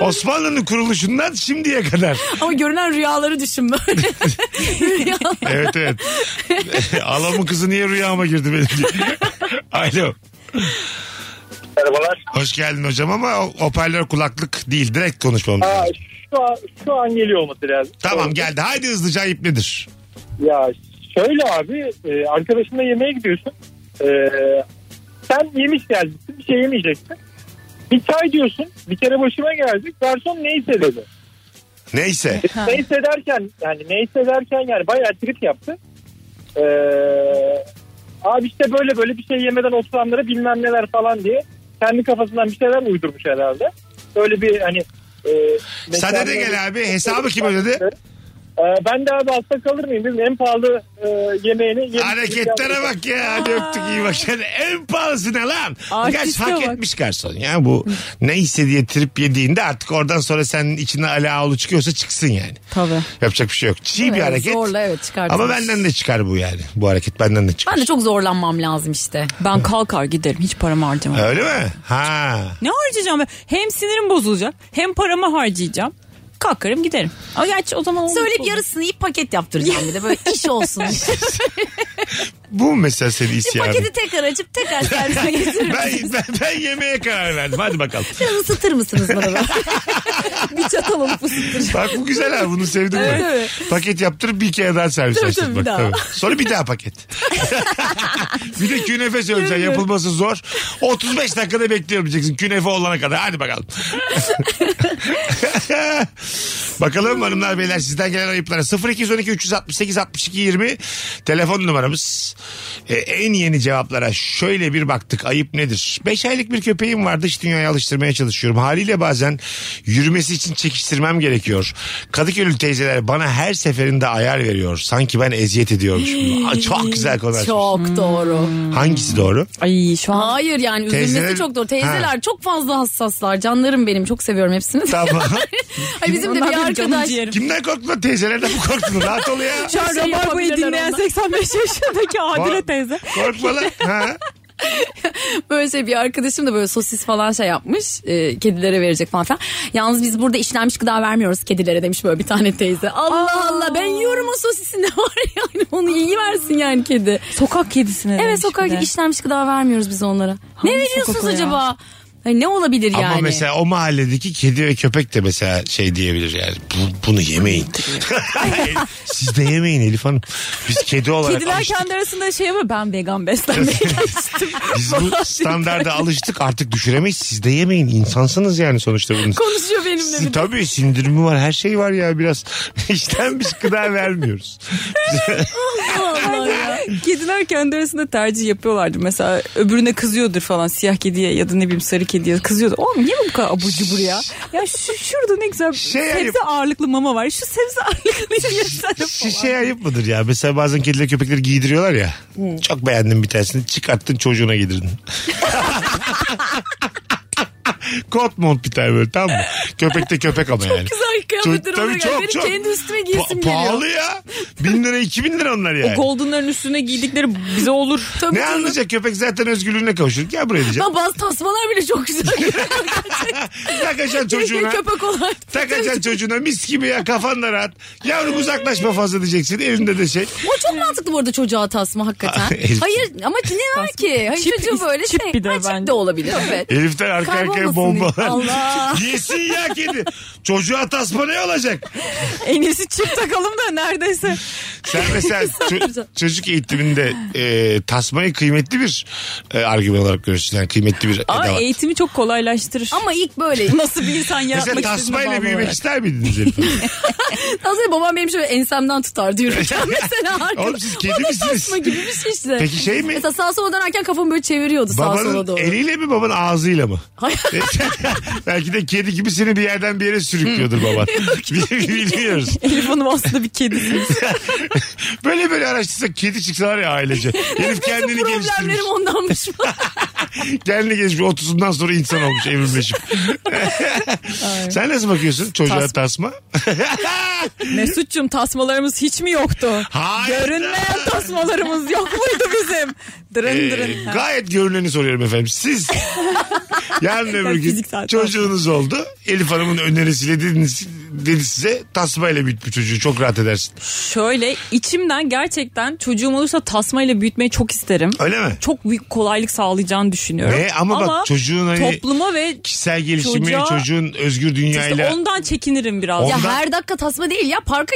C: Osmanlı'nın kuruluşundan şimdiye kadar.
E: Ama görünen rüyaları düşün böyle.
C: <laughs>
E: Rüyalar.
C: Evet evet. Alamın kızı niye rüyama girdi benim diye. Alo.
I: Merhabalar.
C: Hoş geldin hocam ama o- hoparlör kulaklık değil. Direkt konuşmamız
I: Aa,
C: lazım.
I: şu an, şu an geliyor olması lazım.
C: Tamam geldi. Haydi hızlıca ayıp nedir?
I: Ya şöyle abi e, arkadaşınla yemeğe gidiyorsun. E, sen yemiş geleceksin bir şey yemeyeceksin. Bir çay diyorsun bir kere başıma geldi. Garson neyse dedi.
C: Neyse.
I: Neyse derken E, şey yani neyse derken yani bayağı trip yaptı. E, abi işte böyle böyle bir şey yemeden oturanlara bilmem neler falan diye kendi kafasından bir şeyler uydurmuş herhalde. Böyle bir hani e,
C: Sade de gel abi. Hesabı kim ödedi?
I: Ee, ben de abi hasta kalır mıyım? Bizim en pahalı e, yemeğini yemiş-
C: Hareketlere bak ya. Hadi öptük iyi bak. Yani en pahalısı ne lan? Gerçi
D: Artiste
C: hak
D: bak.
C: etmiş garson. Ya bu neyse diye trip yediğinde artık oradan sonra senin içinde Ali Ağulu çıkıyorsa çıksın yani.
E: Tabii.
C: Yapacak bir şey yok. Çiğ bir
E: Evet,
C: hareket.
E: Zorla evet çıkartılmış.
C: Ama benden de çıkar bu yani. Bu hareket benden de çıkar.
E: Ben de çok zorlanmam lazım işte.
D: Ben kalkar giderim hiç paramı harcamam.
C: Öyle mi? Ha.
D: Ne harcayacağım ben? Hem sinirim bozulacak hem paramı harcayacağım. Kalkarım giderim. Ama gerçi o zaman olmaz
E: Söyleyip
D: olur.
E: yarısını yiyip paket yaptıracağım bir de böyle
C: <laughs>
E: iş olsun.
C: Bu mu mesela senin isyanın?
E: Paketi tekrar açıp
C: <laughs>
E: tekrar servise getirir
C: Ben, ben, ben yemeğe karar verdim. Hadi bakalım.
E: Biraz ısıtır mısınız bana? da? bir çatal alıp
C: <laughs>
E: ısıtır.
C: Bak bu güzel ha bunu sevdim ben. Paket yaptırıp bir kere daha servis
E: Tabii,
C: açtık
E: tabii,
C: bak.
E: bir daha.
C: Tabii. Sonra bir daha
E: <laughs>
C: paket. bir de künefe söyleyeceksin yapılması zor. 35 dakikada bekliyorum diyeceksin künefe olana kadar hadi bakalım. bakalım hanımlar beyler sizden gelen ayıplara 0212 368 62 20 telefon numaramız. Ee, en yeni cevaplara şöyle bir baktık ayıp nedir? 5 aylık bir köpeğim var dış dünyaya alıştırmaya çalışıyorum. Haliyle bazen yürümesi için çekiştirmem gerekiyor. Kadıköylü teyzeler bana her seferinde ayar veriyor. Sanki ben eziyet ediyormuşum. Aa, çok Hmm. güzel konu. açmış.
E: Çok doğru.
C: Hangisi doğru?
D: Ay şu an
E: Hayır yani
C: Teyzeler-
E: üzülmesi çok doğru. Teyzeler çok fazla hassaslar. Canlarım benim çok seviyorum hepsini.
C: Tamam. <laughs>
E: Ay bizim de
D: Onlar
E: bir
D: benim canım
E: arkadaş
D: ciğerim.
C: Kimden korktun lan? teyzelerden mi korktun? Rahat ol ya.
D: Şu an
E: şey
D: Rabarba'yı
E: yapabilirler
D: dinleyen
E: ondan.
D: 85
C: <laughs>
D: yaşındaki Adile
C: Kork-
D: teyze.
C: Korkma lan. Ha?
E: böyle şey bir arkadaşım da böyle sosis falan şey yapmış. e, kedilere verecek falan filan. Yalnız biz burada işlenmiş gıda vermiyoruz kedilere demiş böyle bir tane teyze. Allah Allah ben yiyorum o sosisi ne var <laughs> yani onu iyi versin yani kedi.
D: Sokak kedisine
E: Evet sokak işlenmiş gıda vermiyoruz biz onlara. ne veriyorsunuz
D: sokak o ya?
E: acaba? Hani ne olabilir yani?
C: Ama mesela o mahalledeki kedi ve köpek de mesela şey diyebilir yani. "Bu- bunu yemeyin. <laughs> Siz de yemeyin Elif Hanım. Biz kedi olarak
D: Kediler
C: alıştık.
D: kendi arasında şey yapıyor ben vegan beslenmeye <laughs> geçtim. <laughs>
C: Biz
D: şey-
C: bu standarda alıştık artık düşüremeyiz. Siz de yemeyin. insansınız yani sonuçta bunun.
E: konuşuyor benimle
C: Sizin tabii sindirimi var her şey var ya biraz <laughs> işlenmiş gıda vermiyoruz.
D: Kediler kendi arasında tercih yapıyorlardı. Mesela öbürüne kızıyordur falan siyah kediye ya da ne bileyim sarı kediye kızıyordu. Oğlum niye bu kadar abur cubur ya? Ya şu şurada ne güzel
C: Şey
D: sebze
C: yani-
D: ağırlıklı mama var. Şu sebze ağırlıklı yesene falan.
C: Şişe ayıp mıdır ya? Mesela bazen kediler köpekleri giydiriyorlar ya. Çok beğendim bir tanesini. Çıkarttın çocuğuna
E: <laughs>
C: giydirdin. Kot mont bir tane böyle tamam mı? Köpek de köpek ama yani.
E: Güzel Renk kıyafetleri
C: Tabii
E: oluyor.
C: çok,
E: Benim
C: çok.
E: kendi üstüme
C: Pa-
E: giyesim geliyor.
C: pahalı ya. Bin lira iki bin lira onlar yani.
D: Golden'ların üstüne giydikleri bize olur.
E: Tabii
C: Ne
E: canım.
C: anlayacak köpek zaten özgürlüğüne kavuşur. Gel buraya diyeceğim.
E: Lan bazı tasmalar bile çok güzel.
C: <laughs> Takacaksın <laughs>
D: <laughs>
E: Keşke
C: çocuğuna.
E: köpek olan.
C: Takacaksın çocuğuna mis gibi ya kafan da rahat. Yavrum uzaklaşma fazla diyeceksin elinde de şey.
E: O çok mantıklı bu arada çocuğa
C: <laughs>
E: tasma hakikaten.
C: Elif-
E: Hayır ama ne var ki? Hayır,
D: Çip
E: çocuğu
D: is-
E: böyle
D: çip
E: şey.
D: bir de
E: Ha, çip de
D: bence.
E: olabilir evet.
C: Elif'ten arka arkaya
E: Kaybolmasın diye. Allah.
C: bombalar. <laughs> Yesin ya kedi. Çocuğa tasma ne olacak?
D: En iyisi çift takalım da neredeyse.
C: Sen
E: <laughs>
C: mesela ço- çocuk eğitiminde e, tasmayı kıymetli bir e, argüman olarak görürsün. Yani kıymetli bir
D: Ama
C: edevat.
D: eğitimi çok kolaylaştırır.
E: Ama ilk
D: <laughs>
E: böyle.
D: nasıl bir insan yaratmak
C: Mesela
D: istediğine
C: tasmayla
D: bağlı
C: büyümek
D: olarak.
C: ister miydiniz
E: <laughs>
C: Elif Hanım?
E: Az önce babam benim şöyle ensemden tutar
C: <laughs>
E: yürürken mesela arkada.
C: Oğlum siz kedi
E: O da
C: misiniz?
E: tasma gibi bir şey işte.
C: Peki şey mi?
E: Mesela sağa sola dönerken kafamı böyle çeviriyordu sağa sola
C: Babanın
E: doğru.
C: eliyle mi babanın ağzıyla mı?
E: <laughs> Hayır.
C: <laughs> Belki de kedi gibi seni bir yerden bir yere sürüklüyordur
E: <laughs>
C: baban. Biliyoruz.
D: Elif Hanım aslında bir kedisiniz.
C: Böyle böyle araştırsak kedi çıksalar ya
E: <laughs>
C: ailece. Herif kendini geliştirmiş.
E: Problemlerim
C: <laughs>
E: ondanmış mı?
C: Kendini geliştirmiş. 30'undan sonra insan olmuş evrimleşip. Sen nasıl bakıyorsun çocuğa
D: Tas-
C: tasma?
D: Mesut'cum tasmalarımız hiç mi yoktu?
C: Hayır.
D: Görünmeyen tasmalarımız yok muydu bizim? Dırın
C: Ee,
D: dırın. Ha.
C: gayet görüneni soruyorum efendim. Siz yarın öbür gün
D: fiziksel tasma.
C: çocuğunuz oldu. Elif Hanım'ın önerisiyle dediniz, dedi size tasmayla büyüt bu çocuğu çok rahat edersin.
D: Şöyle içimden gerçekten çocuğum olursa tasmayla büyütmeyi çok isterim.
C: Öyle mi?
D: Çok büyük kolaylık sağlayacağını düşünüyorum.
C: Ne? Ama, bak çocuğun hani
D: topluma ve
C: kişisel gelişimi,
D: çocuğa-
C: çocuğun özgür
D: işte
C: dünyayla...
D: ondan çekinirim biraz.
C: On-
E: Ya
C: Ondan-
E: her dakika tasma değil ya parka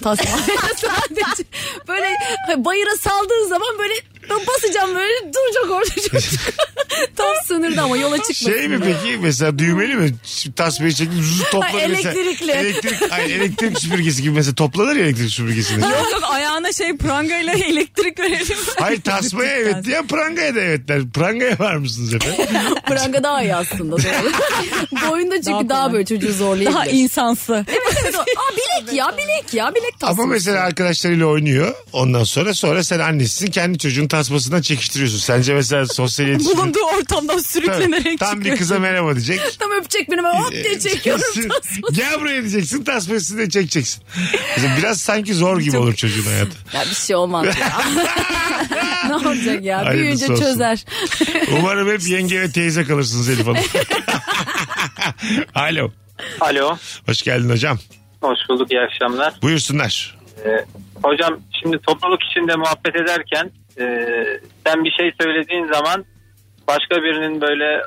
C: <laughs>
E: tasma. <laughs> Sadece böyle bayıra saldığın zaman böyle ben basacağım böyle duracak orada çocuk. <laughs> Tam sınırda ama yola çıkmasın.
C: Şey mi peki mesela düğmeli mi? Şimdi Tasmayı çekip zuz toplanır
E: Ay,
C: mesela.
E: elektrikli.
C: Elektrik, ay, elektrik süpürgesi gibi mesela toplanır ya elektrik
D: <laughs>
C: süpürgesini.
D: Yok yok ayağına şey prangayla elektrik verelim.
C: Hayır tasmaya evet diye prangaya da evet der. Prangaya var mısınız efendim?
E: Pranga daha iyi aslında. doğru. Boyunda çünkü daha,
D: Daha kolay.
E: böyle çocuğu zorlayabilir.
D: Daha insansı.
E: Evet, o- Aa bilek ya bilek ya bilek tasması.
C: Ama mesela arkadaşlarıyla oynuyor. Ondan sonra sonra sen annesisin kendi çocuğun tasmasından çekiştiriyorsun. Sence mesela sosyal iletişim...
D: Bulunduğu ortamdan
C: Tabii,
D: sürüklenerek
C: Tam bir
D: çıkıyor.
C: kıza merhaba diyecek.
E: <laughs> Tam öpecek beni ben hop diye çekiyorum
C: Kesin.
E: tasma.
C: Gel buraya diyeceksin tasmasını da çekeceksin. Mesela Biraz sanki zor gibi olur çocuğun hayatı.
E: Ya bir şey olmaz ya. <laughs> ne olacak ya
C: Hayırlısı
E: büyüyünce
C: olsun.
E: çözer.
C: Umarım hep yenge ve teyze kalırsınız Elif Hanım. <laughs> Alo.
F: Alo.
C: Hoş geldin hocam.
F: Hoş bulduk. iyi akşamlar.
C: Buyursunlar.
F: Ee, hocam şimdi topluluk içinde muhabbet ederken e, sen bir şey söylediğin zaman başka birinin böyle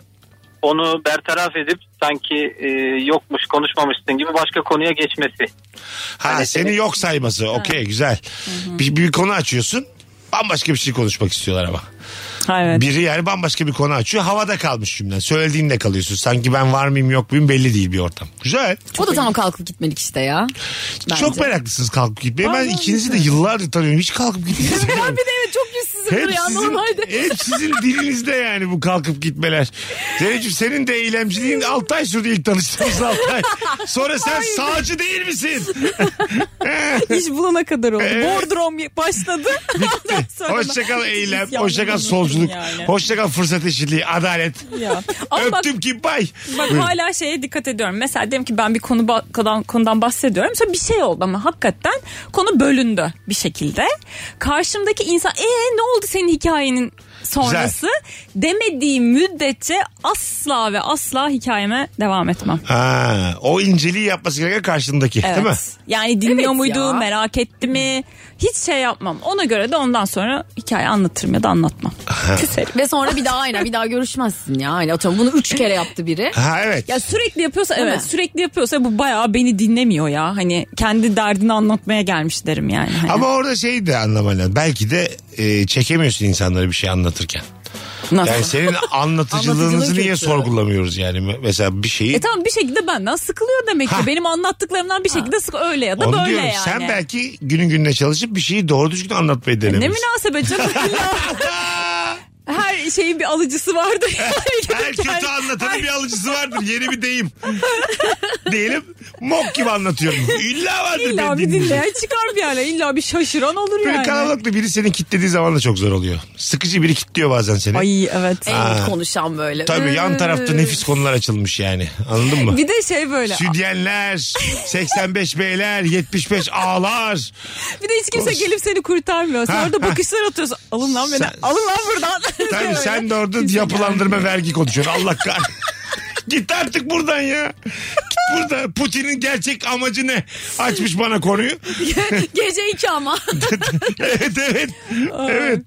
F: onu bertaraf edip sanki e, yokmuş konuşmamışsın gibi başka konuya geçmesi.
E: Hani
C: Ha seni yok sayması. Okey güzel. Bir, bir konu açıyorsun. Bambaşka bir şey konuşmak istiyorlar ama.
D: Ha, evet.
C: Biri yani bambaşka bir konu açıyor. Havada kalmış cümle. Söylediğinde kalıyorsun. Sanki ben var mıyım yok muyum belli değil bir ortam. Güzel.
E: o da tam kalkıp gitmelik işte ya.
C: Çok
E: Bence.
C: meraklısınız kalkıp gitmeye. Ben ikinizi de yıllardır tanıyorum. Hiç kalkıp gitmeniz
E: <laughs> Ben bir de evet çok yüzsüzümdür
C: Hep
E: ya
C: sizin,
E: normalde.
C: hep sizin dilinizde yani bu kalkıp gitmeler. Zeynep'ciğim senin de eylemciliğin 6 ay sürdü ilk tanıştığımız 6 ay. Sonra sen sağcı değil misin?
D: İş bulana kadar oldu.
C: Evet.
D: Bordrom
C: <laughs>
D: başladı. Ondan sonra
C: Hoşçakal
D: ben-
C: eylem,
D: İsyan
C: hoşçakal
D: bulundum
C: solculuk,
D: yani.
C: hoşçakal fırsat eşitliği, adalet.
D: Ya. Ama bak,
C: Öptüm ki bay.
D: bak
C: Buyurun.
D: hala şeye dikkat ediyorum. Mesela diyelim ki ben bir konu ba- konudan, konudan bahsediyorum. Sonra bir şey oldu ama hakikaten konu bölündü bir şekilde. Karşımdaki insan ee ne oldu senin hikayenin sonrası demediği müddetçe asla ve asla hikayeme devam etmem.
C: Ha, o inceliği yapması gereken karşındaki değil mi?
D: Yani dinliyor
E: Evet
D: muydu,
E: ya.
D: merak etti mi? Hiç şey yapmam. Ona göre de ondan sonra hikaye anlatırım ya da anlatmam. Küserim.
E: Ve sonra bir daha aynen bir daha görüşmezsin ya. Hani atıyorum bunu üç kere yaptı biri.
C: Ha evet.
D: Ya sürekli yapıyorsa
E: Değil
D: evet
E: mi?
D: sürekli yapıyorsa bu bayağı beni dinlemiyor ya. Hani kendi derdini anlatmaya gelmiş derim yani. Hani.
C: Ama orada şeyi de anlaman lazım. Belki de e, çekemiyorsun insanlara bir şey anlatırken.
D: Nasıl?
C: Yani
D: <laughs>
C: senin anlatıcılığınızı
E: Anlatıcılığı
C: niye
E: kötü.
C: sorgulamıyoruz yani? Mesela bir şeyi
D: E tamam bir şekilde benden sıkılıyor demek ki.
C: Ha.
D: Benim anlattıklarımdan bir şekilde sık öyle ya da
C: Onu
D: böyle
C: diyorum.
D: yani. E,
C: Sen belki günün gününe çalışıp bir şeyi doğru düzgün anlatmayı
D: Ne
C: denemişsin. <laughs>
D: münasebet canım. İlla Her şeyin bir alıcısı vardır.
C: <laughs> Her kötü anlatanın bir alıcısı vardır. Yeni bir deyim. Diyelim mok gibi anlatıyorum. İlla vardır.
D: İlla
C: beni
D: bir
C: dinleyecek.
D: dinleyen çıkar bir yerle. İlla bir şaşıran olur
C: Böyle
D: yani.
C: kalabalıkta biri seni kitlediği zaman da çok zor oluyor. Sıkıcı biri kitliyor bazen seni.
D: Ay evet. Ee,
E: En konuşan böyle.
C: Tabii yan tarafta nefis konular açılmış yani. Anladın mı?
D: Bir de şey böyle.
C: Südyenler, 85 beyler, 75 ağlar.
D: Bir de hiç kimse gelip seni kurtarmıyor.
C: Ha,
D: Sen orada
C: ha.
D: bakışlar atıyorsun. Alın lan beni.
C: Sen-
D: Alın lan buradan.
C: Tabii
D: Böyle.
C: sen de orada yapılandırma vergi konuşuyorsun. Allah kahretsin. Git artık buradan ya. Git burada. Putin'in gerçek amacı ne? Açmış bana konuyu.
E: Gece iki ama.
C: <laughs> evet evet. evet.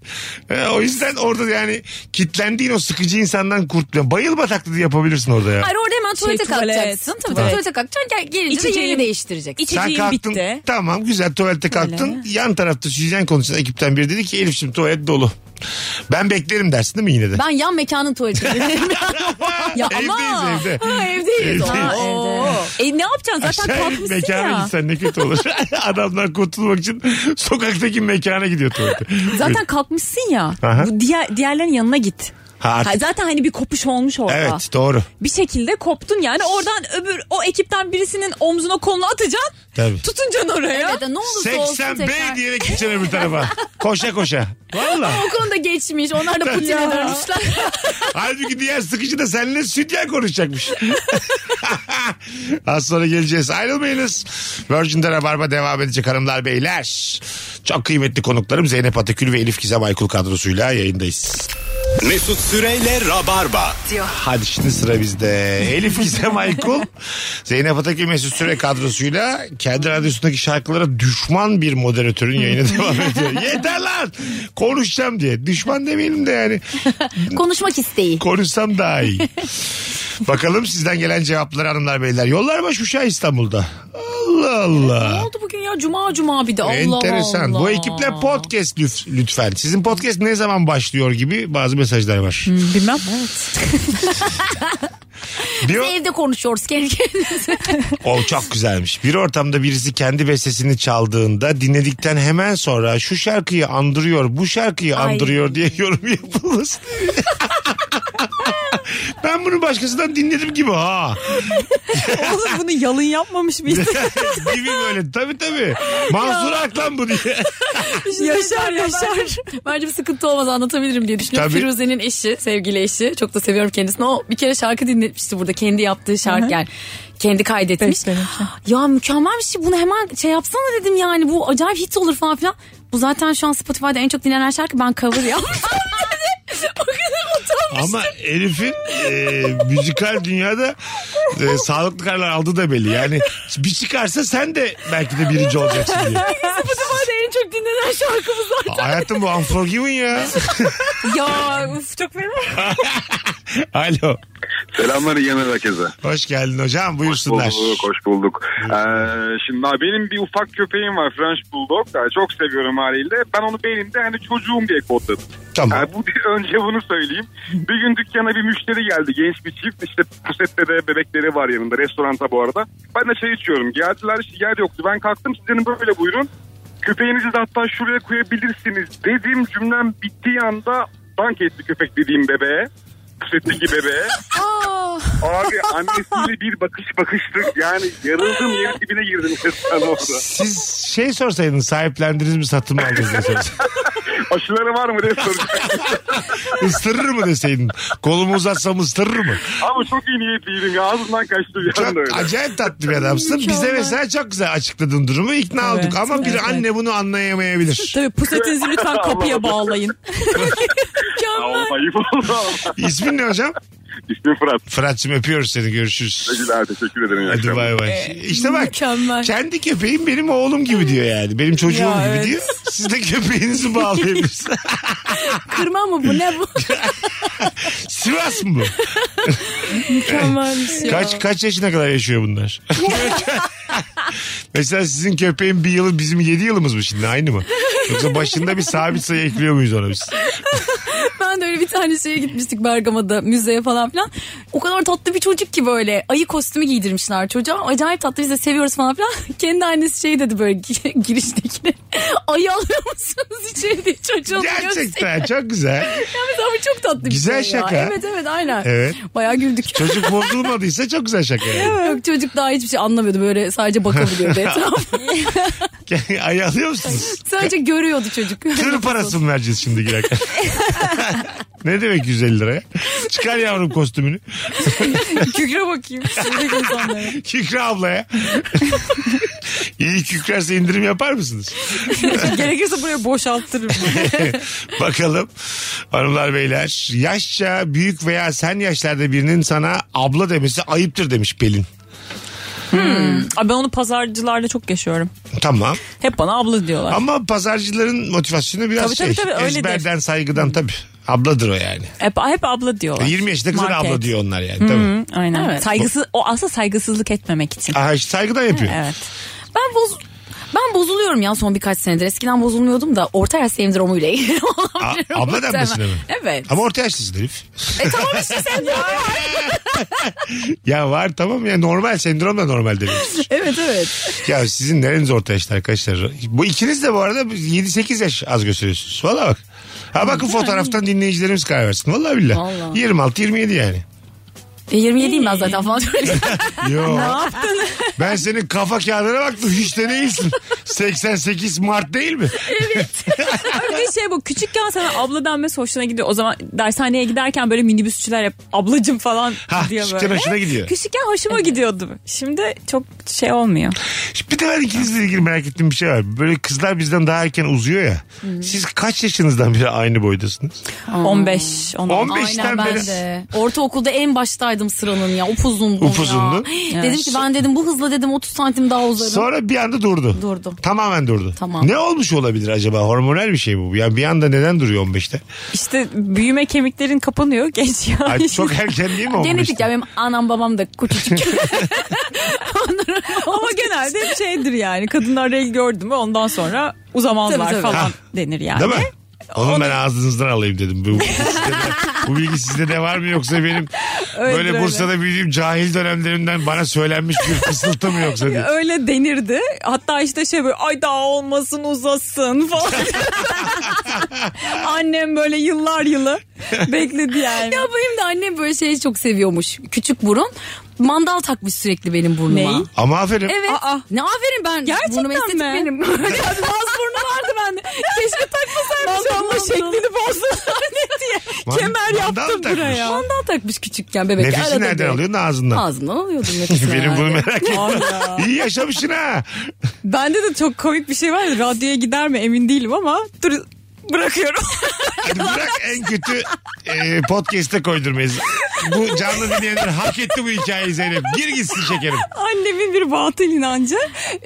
C: Ee, o yüzden orada yani kitlendiğin o sıkıcı insandan kurtuluyor. Bayılma taklidi yapabilirsin orada ya.
E: Hayır orada hemen tuvalete
D: Şey, tuvalet.
E: kalkacaksın. Tabii
D: Tuvalet.
E: tuvalete kalkacaksın. Gel, gelince de
D: İçeceğim.
E: yerini değiştireceksin.
C: Sen
D: İçeceğim
C: kalktın.
D: bitti.
C: Tamam güzel tuvalete kalktın. Yan tarafta süzyen konuşan ekipten biri dedi ki Elif şimdi tuvalet dolu. Ben beklerim dersin değil mi yine de? <laughs>
E: Ben yan mekanın tuvaletine
D: Ya ama.
C: Evdeyiz evde.
E: Ha, evdeyiz.
C: Evdeyiz.
E: Ha,
D: Oo.
E: evde.
D: E ne yapacaksın? Zaten
C: Aşağı
D: kalkmışsın
C: mekana
D: ya.
C: gitsen ne kötü olur. <laughs> Adamdan kurtulmak için sokaktaki mekana gidiyor tuvalete.
D: Zaten kalkmışsın ya.
C: Aha.
D: Bu diğer diğerlerin yanına git.
C: Ha, artık-
D: Ha, zaten hani bir kopuş olmuş orada.
C: Evet doğru.
D: Bir şekilde koptun yani oradan öbür o ekipten birisinin omzuna kolunu atacaksın.
C: Tabii.
D: Tutuncan oraya.
E: Evet, ne olursa olsun
C: 80 B
E: tekrar.
C: diyerek gideceksin öbür
E: <laughs>
C: tarafa. Koşa koşa. Valla.
E: O konuda geçmiş. Onlar da Putin'e dönmüşler.
C: Halbuki diğer sıkıcı da seninle sütyen konuşacakmış. <laughs> Az sonra geleceğiz. Ayrılmayınız. Virgin'de Rabarba devam edecek hanımlar beyler. Çok kıymetli konuklarım Zeynep Atakül ve Elif Gizem Aykul kadrosuyla yayındayız.
B: Mesut Süreyle Rabarba.
C: Hadi şimdi sıra bizde. Elif Gizem Aykul, Zeynep Atakül Mesut Süre kadrosuyla kendi radyosundaki şarkılara düşman bir moderatörün yayına devam ediyor. Yeter lan! Konuşacağım diye. Düşman demeyelim de yani.
E: Konuşmak isteği.
C: Konuşsam daha iyi. Bakalım sizden gelen cevapları hanımlar beyler. Yollar baş uşağı İstanbul'da. Allah
E: Ne
C: Allah.
E: oldu bugün ya? Cuma cuma bir de. Allah
C: Enteresan.
E: Allah.
C: Bu ekiple podcast lüf- lütfen. Sizin podcast ne zaman başlıyor gibi bazı mesajlar var.
D: Bilmem.
C: Bir, o-
E: Evde konuşuyoruz kendi kendimize.
C: o çok güzelmiş. Bir ortamda birisi kendi bestesini çaldığında dinledikten hemen sonra şu şarkıyı andırıyor, bu şarkıyı
E: Ay.
C: andırıyor diye yorum yapılması. ben bunu başkasından dinledim gibi ha.
D: Oğlum bunu yalın yapmamış bir insan.
C: gibi böyle tabii tabii. Mansur Aklan bu diye.
D: yaşar yaşar.
E: Bence bir sıkıntı olmaz anlatabilirim diye düşünüyorum.
C: Tabii.
E: Firuze'nin eşi, sevgili eşi. Çok da seviyorum kendisini. O bir kere şarkı dinletmişti burada. Kendi yaptığı şarkı yani. Kendi kaydetmiş. ya mükemmel bir şey. Bunu hemen şey yapsana dedim yani. Bu acayip hit olur falan filan. Bu zaten şu an Spotify'da en çok dinlenen şarkı. Ben cover yaptım dedi. o kadar utanmış.
C: Ama Elif'in e, müzikal dünyada e, sağlıklı kararlar aldığı da belli. Yani bir çıkarsa sen de belki de birinci olacaksın diye.
E: <laughs> Spotify'da en çok dinlenen şarkımız var.
C: Hayatım bu Unforgiven ya.
D: ya uf çok fena.
C: Alo.
H: Selamlar iyi yayınlar herkese.
C: Hoş geldin hocam. Buyursunlar.
H: Bulduk, hoş bulduk. Ee, şimdi abi benim bir ufak köpeğim var French Bulldog. Ee, çok seviyorum haliyle. Ben onu beynimde hani çocuğum diye kodladım.
C: Tamam.
H: Yani bu <laughs> önce bunu söyleyeyim. Bir gün dükkana bir müşteri geldi. Genç bir çift. İşte pusette de bebekleri var yanında. Restoranta bu arada. Ben de çay içiyorum. Geldiler işte yer yoktu. Ben kalktım sizlerin böyle buyurun. Köpeğinizi de hatta şuraya koyabilirsiniz dedim. Cümlem bittiği anda dank etti köpek dediğim bebeğe. Pusetteki bebeğe. Abi annesiyle bir bakış bakıştık. Yani yarıldım yerin dibine girdim resmen orada.
C: Siz şey sorsaydınız sahiplendiniz mi satın mı aldınız diye
H: <laughs>
C: sorsaydınız.
H: Aşıları var mı diye soracaktım.
C: Isırır mı deseydin. Kolumu uzatsam ısırır mı?
H: Ama çok iyi niyetliydim ya. Ağzımdan kaçtı bir anda öyle.
C: Çok acayip tatlı bir adamsın. Bize mesela çok güzel açıkladın durumu. İkna
D: Evet,
C: olduk ama bir
D: evet.
C: anne bunu anlayamayabilir.
D: Tabii pusetinizi lütfen
C: <laughs>
D: kapıya bağlayın.
H: Aa,
D: Mükemmel.
H: oğlum, <laughs> ayıp oldu ama.
C: İsmin ne hocam?
H: İsmim Fırat.
C: Fırat'cığım öpüyoruz seni görüşürüz.
H: Teşekkürler, teşekkür ederim. iyi
C: Hadi
H: akşamlar.
C: bay
D: Ee,
C: bay. İşte bak
E: mükemmel.
C: kendi köpeğim benim oğlum gibi diyor yani. Benim çocuğum
D: Ya,
C: gibi
D: evet.
C: diyor. Siz de köpeğinizi
D: <laughs>
C: bağlayabilirsiniz.
E: Kırma mı bu ne bu?
C: Sivas mı bu?
E: Mükemmelmiş ya.
C: Kaç, kaç yaşına kadar yaşıyor bunlar? Mesela sizin köpeğin bir yılı bizim yedi yılımız mı şimdi aynı mı? Yoksa başında bir sabit sayı ekliyor muyuz ona biz?
E: Ben de öyle böyle bir tane şeye gitmiştik Bergama'da müzeye falan filan. O kadar tatlı bir çocuk ki böyle ayı kostümü giydirmişler çocuğa. Acayip tatlı biz de seviyoruz falan filan. <laughs> Kendi annesi şey dedi böyle <laughs> giriştekine. Ayı alıyor musunuz içeri <laughs> diye çocuğun gösterdi.
C: Gerçekten çok güzel.
E: Ama çok tatlı bir
C: Güzel
E: şey
C: şaka.
E: Ya. Evet evet aynen.
C: Evet.
E: Bayağı güldük.
C: Çocuk bozulmadıysa çok güzel şaka. yani.
E: Yok çocuk daha hiçbir şey anlamıyordu böyle
C: <laughs>
E: sadece bakabiliyordu etrafa.
C: Ay alıyor musunuz?
E: sadece görüyordu çocuk. <laughs>
C: Tır parası mı vereceğiz şimdi girerken? ne demek 150 liraya? Çıkar yavrum kostümünü.
E: Kükre bakayım. Şimdi insanlara.
C: Kükre ablaya. İyi kükrerse indirim yapar mısınız?
E: Gerekirse buraya boşalttırırım.
C: <laughs> Bakalım hanımlar beyler. Yaşça büyük veya sen yaşlarda birinin sana abla demesi ayıptır demiş Pelin.
D: Ay ben onu pazarcılarda çok yaşıyorum.
C: Tamam.
D: Hep bana abla diyorlar.
C: Ama pazarcıların motivasyonu biraz
D: Tabii, tabii,
C: şey.
D: tabii, öyledir.
C: ezberden saygıdan tabii. Abladır o yani.
D: Hep, hep abla diyorlar.
C: 20 yaşında kızına
D: Market.
C: abla diyor onlar yani. Tabii.
D: Hı, Aynen.
E: Evet.
D: Saygısı, o aslında saygısızlık etmemek için.
C: Aha, işte saygıdan yapıyor.
D: Evet.
E: Ben boz ben bozuluyorum ya son birkaç senedir. Eskiden bozulmuyordum da orta yaş sendromuyla ilgili <laughs> olabilir.
D: <laughs>
C: A- abla denmesine mi?
E: Evet.
C: Ama orta yaşlısın herif.
E: E tamam işte
D: <laughs>
E: sen de.
C: Ya var tamam ya normal sendrom da normal demek.
E: evet evet.
C: ya sizin nereniz orta yaşta arkadaşlar? Bu ikiniz de bu arada 7-8 yaş az gösteriyorsunuz. Valla bak. Ha bakın fotoğraftan dinleyicilerimiz karar versin. Valla billah.
E: Vallahi.
C: 26-27 yani.
E: E, 27'yim ben zaten falan.
D: <laughs>
C: Yo. <laughs> ne yaptın? Ben senin kafa kağıdına baktım. Hiç de değilsin. 88 Mart değil mi?
D: Bir de şey bu küçükken sana abla denmesi hoşuna gidiyor. O zaman dershaneye giderken böyle minibüsçüler hep ablacım falan
C: Ha,
D: diyor
C: küçükken
D: böyle.
C: hoşuna gidiyor.
D: Küçükken hoşuma gidiyordu. Şimdi çok şey olmuyor.
C: Bir de ben ikinizle ilgili merak ettiğim bir şey var. Böyle kızlar bizden daha erken uzuyor ya. Siz kaç yaşınızdan beri aynı boydasınız?
D: 15, 16.
C: 15'ten
E: Aynen ben
C: beri.
E: de. Ortaokulda en baştaydım sıranın ya. Upuzundum
C: Upuzundun.
E: ya. dedim ki ben dedim bu hızla dedim 30 santim daha uzarım.
C: Sonra bir anda durdu.
E: Durdu.
C: Tamamen durdu.
E: Tamam.
C: Ne olmuş olabilir acaba? Hormonal bir şey mi bu. Yani bir anda neden duruyor 15'te?
D: İşte büyüme kemiklerin kapanıyor <laughs> genç ya.
E: <laughs>
C: Ay, çok erken değil mi 15'te?
E: Genetik ya benim anam babam da
D: <laughs>
E: <laughs> küçücük.
D: Ama genelde hep şeydir yani kadınlar el gördü mü ondan sonra uzamazlar
E: Tabii, tabii.
D: falan
C: Ha.
D: denir yani.
C: Değil mi? Onu, ben ağzınızdan alayım dedim. Bu, <laughs> bu bilgi sizde de- bu bilgi sizde de var mı yoksa
E: <laughs>
C: benim
D: Öyledir,
C: böyle
D: öyle.
C: Bursa'da büyüdüğüm cahil dönemlerimden bana söylenmiş bir fısıltı mı yoksa
E: <laughs>
C: diye.
D: Öyle denirdi. Hatta işte şey böyle ay daha olmasın
C: <laughs>
D: uzasın <laughs> falan. Annem böyle yıllar yılı bekledi yani.
E: Ya benim de annem böyle şeyi çok seviyormuş. Küçük burun. Mandal takmış sürekli benim burnuma.
D: Ney?
C: Ama aferin.
E: Evet.
D: Aa.
E: Ne aferin ben.
D: Gerçekten
E: burnum estetik
D: mi? <laughs>
E: benim. Öyle bir Boğaz burnu vardı bende. Keşke takmasaymış.
D: Mandalla şeklini <laughs> bozdun diye.
C: Man-
D: Kemer
C: mandal
D: yaptım
C: takmış.
D: buraya.
E: Mandal takmış küçükken bebek.
C: Nefesi
E: Arada
C: nereden
E: bir.
C: alıyorsun? Ağzından. <laughs>
E: Ağzımdan alıyordum nefesini.
C: Benim bunu
E: herhalde.
C: merak ettim. İyi yaşamışsın ha.
D: Bende de çok komik bir şey var. ya, Radyoya gider mi emin değilim ama dur bırakıyorum.
C: Hadi bırak en kötü e, podcast'e koydurmayız. Bu canlı dinleyenler hak etti bu hikayeyi Zeynep. Gir gitsin şekerim.
D: <laughs> Annemin bir batıl inancı.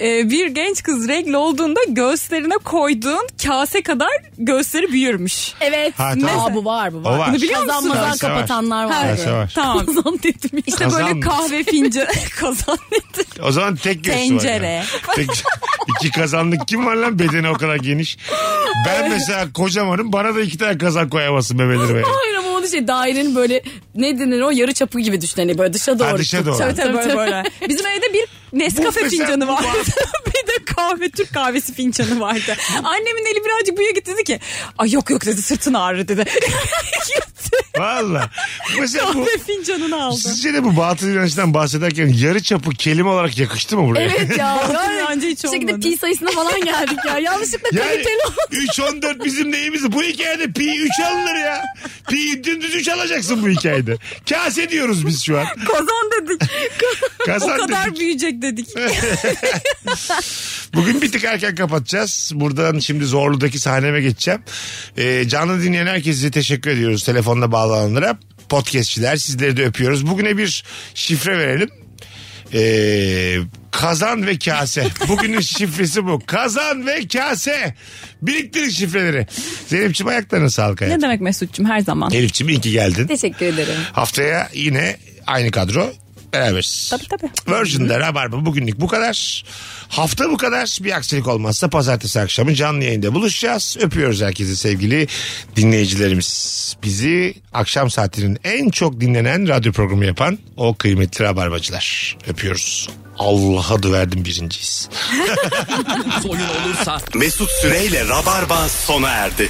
D: Ee, bir genç kız regl olduğunda göğüslerine koyduğun kase kadar göğsleri büyürmüş.
E: Evet.
C: Ha,
E: ne?
C: tamam.
E: Aa, bu var bu
C: O
E: var.
C: var.
D: Bunu biliyor musun?
E: Kazan mazan
C: Kase var.
E: kapatanlar var.
C: Kase
E: Evet.
C: var.
D: Tamam.
E: Kazan dedim ya.
D: İşte
C: Kazan
D: böyle
C: mı?
D: kahve fincanı <laughs> kazan nedir?
C: O zaman tek göğsü var.
D: Tencere.
C: yani.
E: <laughs>
C: Tek, iki kazanlık kim var lan bedeni o kadar geniş. Ben mesela kocamanım bana da iki tane kazan koyamazsın bebelerime.
E: Hayır ama onun şey dairenin böyle ne denir o yarı çapı gibi düşün. Hani böyle dışa doğru.
C: Ha, dışa
E: tutacak.
C: doğru.
D: Tabii, tabii, böyle. Bizim evde bir
C: Bu
D: Nescafe
C: mesela
D: fincanı
C: bu
D: vardı.
E: <laughs>
C: var.
D: bir de kahve Türk kahvesi fincanı vardı. Annemin eli birazcık büyüğe gitti dedi ki ay yok yok dedi sırtın ağrı dedi. <laughs> Gitti
C: Valla. Mesela bu,
D: kahve fincanını aldı.
C: sizce de bu batıl inançtan bahsederken yarı çapı kelime olarak yakıştı mı buraya?
E: Evet ya.
D: Hatırlayınca
E: Yani
D: hiç
E: bir şekilde
D: olmadı.
E: pi sayısına falan geldik ya. Yanlışlıkla
C: <laughs> Yani
E: kaliteli oldu.
C: 3-14 bizim neyimiz? Bu hikayede pi 3 alınır ya. Pi dümdüz 3 alacaksın bu hikayede. Kase diyoruz biz şu an.
D: Kazan dedik.
C: Kazan
D: o kadar
C: dedik.
D: büyüyecek dedik.
C: Bugün bir tık erken kapatacağız. Buradan şimdi Zorlu'daki sahneme geçeceğim. Ee, canlı dinleyen herkese teşekkür ediyoruz. Telefonla bağlananlara. Podcastçiler sizleri de öpüyoruz. Bugüne bir şifre verelim. Ee, kazan ve kase. Bugünün <laughs> şifresi bu. Kazan ve kase. Biriktirin şifreleri. Zeynep'ciğim ayaklarına sağlık hayatım.
D: ne demek Mesut'cum her zaman.
C: Elif'ciğim iyi ki geldin.
E: Teşekkür ederim.
C: Haftaya yine aynı kadro. hep beraberiz.
D: Tabii tabii.
C: Virgin'de Rabarba bugünlük bu kadar. Hafta bu kadar. Bir aksilik olmazsa pazartesi akşamı canlı yayında buluşacağız. Öpüyoruz herkese sevgili dinleyicilerimiz. Bizi akşam saatinin en çok dinlenen radyo programı yapan o kıymetli Rabarbacılar. Öpüyoruz. Allah'a duverdim birinciyiz.
A: Soyun olursa
B: Mesut Süreyle Rabarba sona erdi.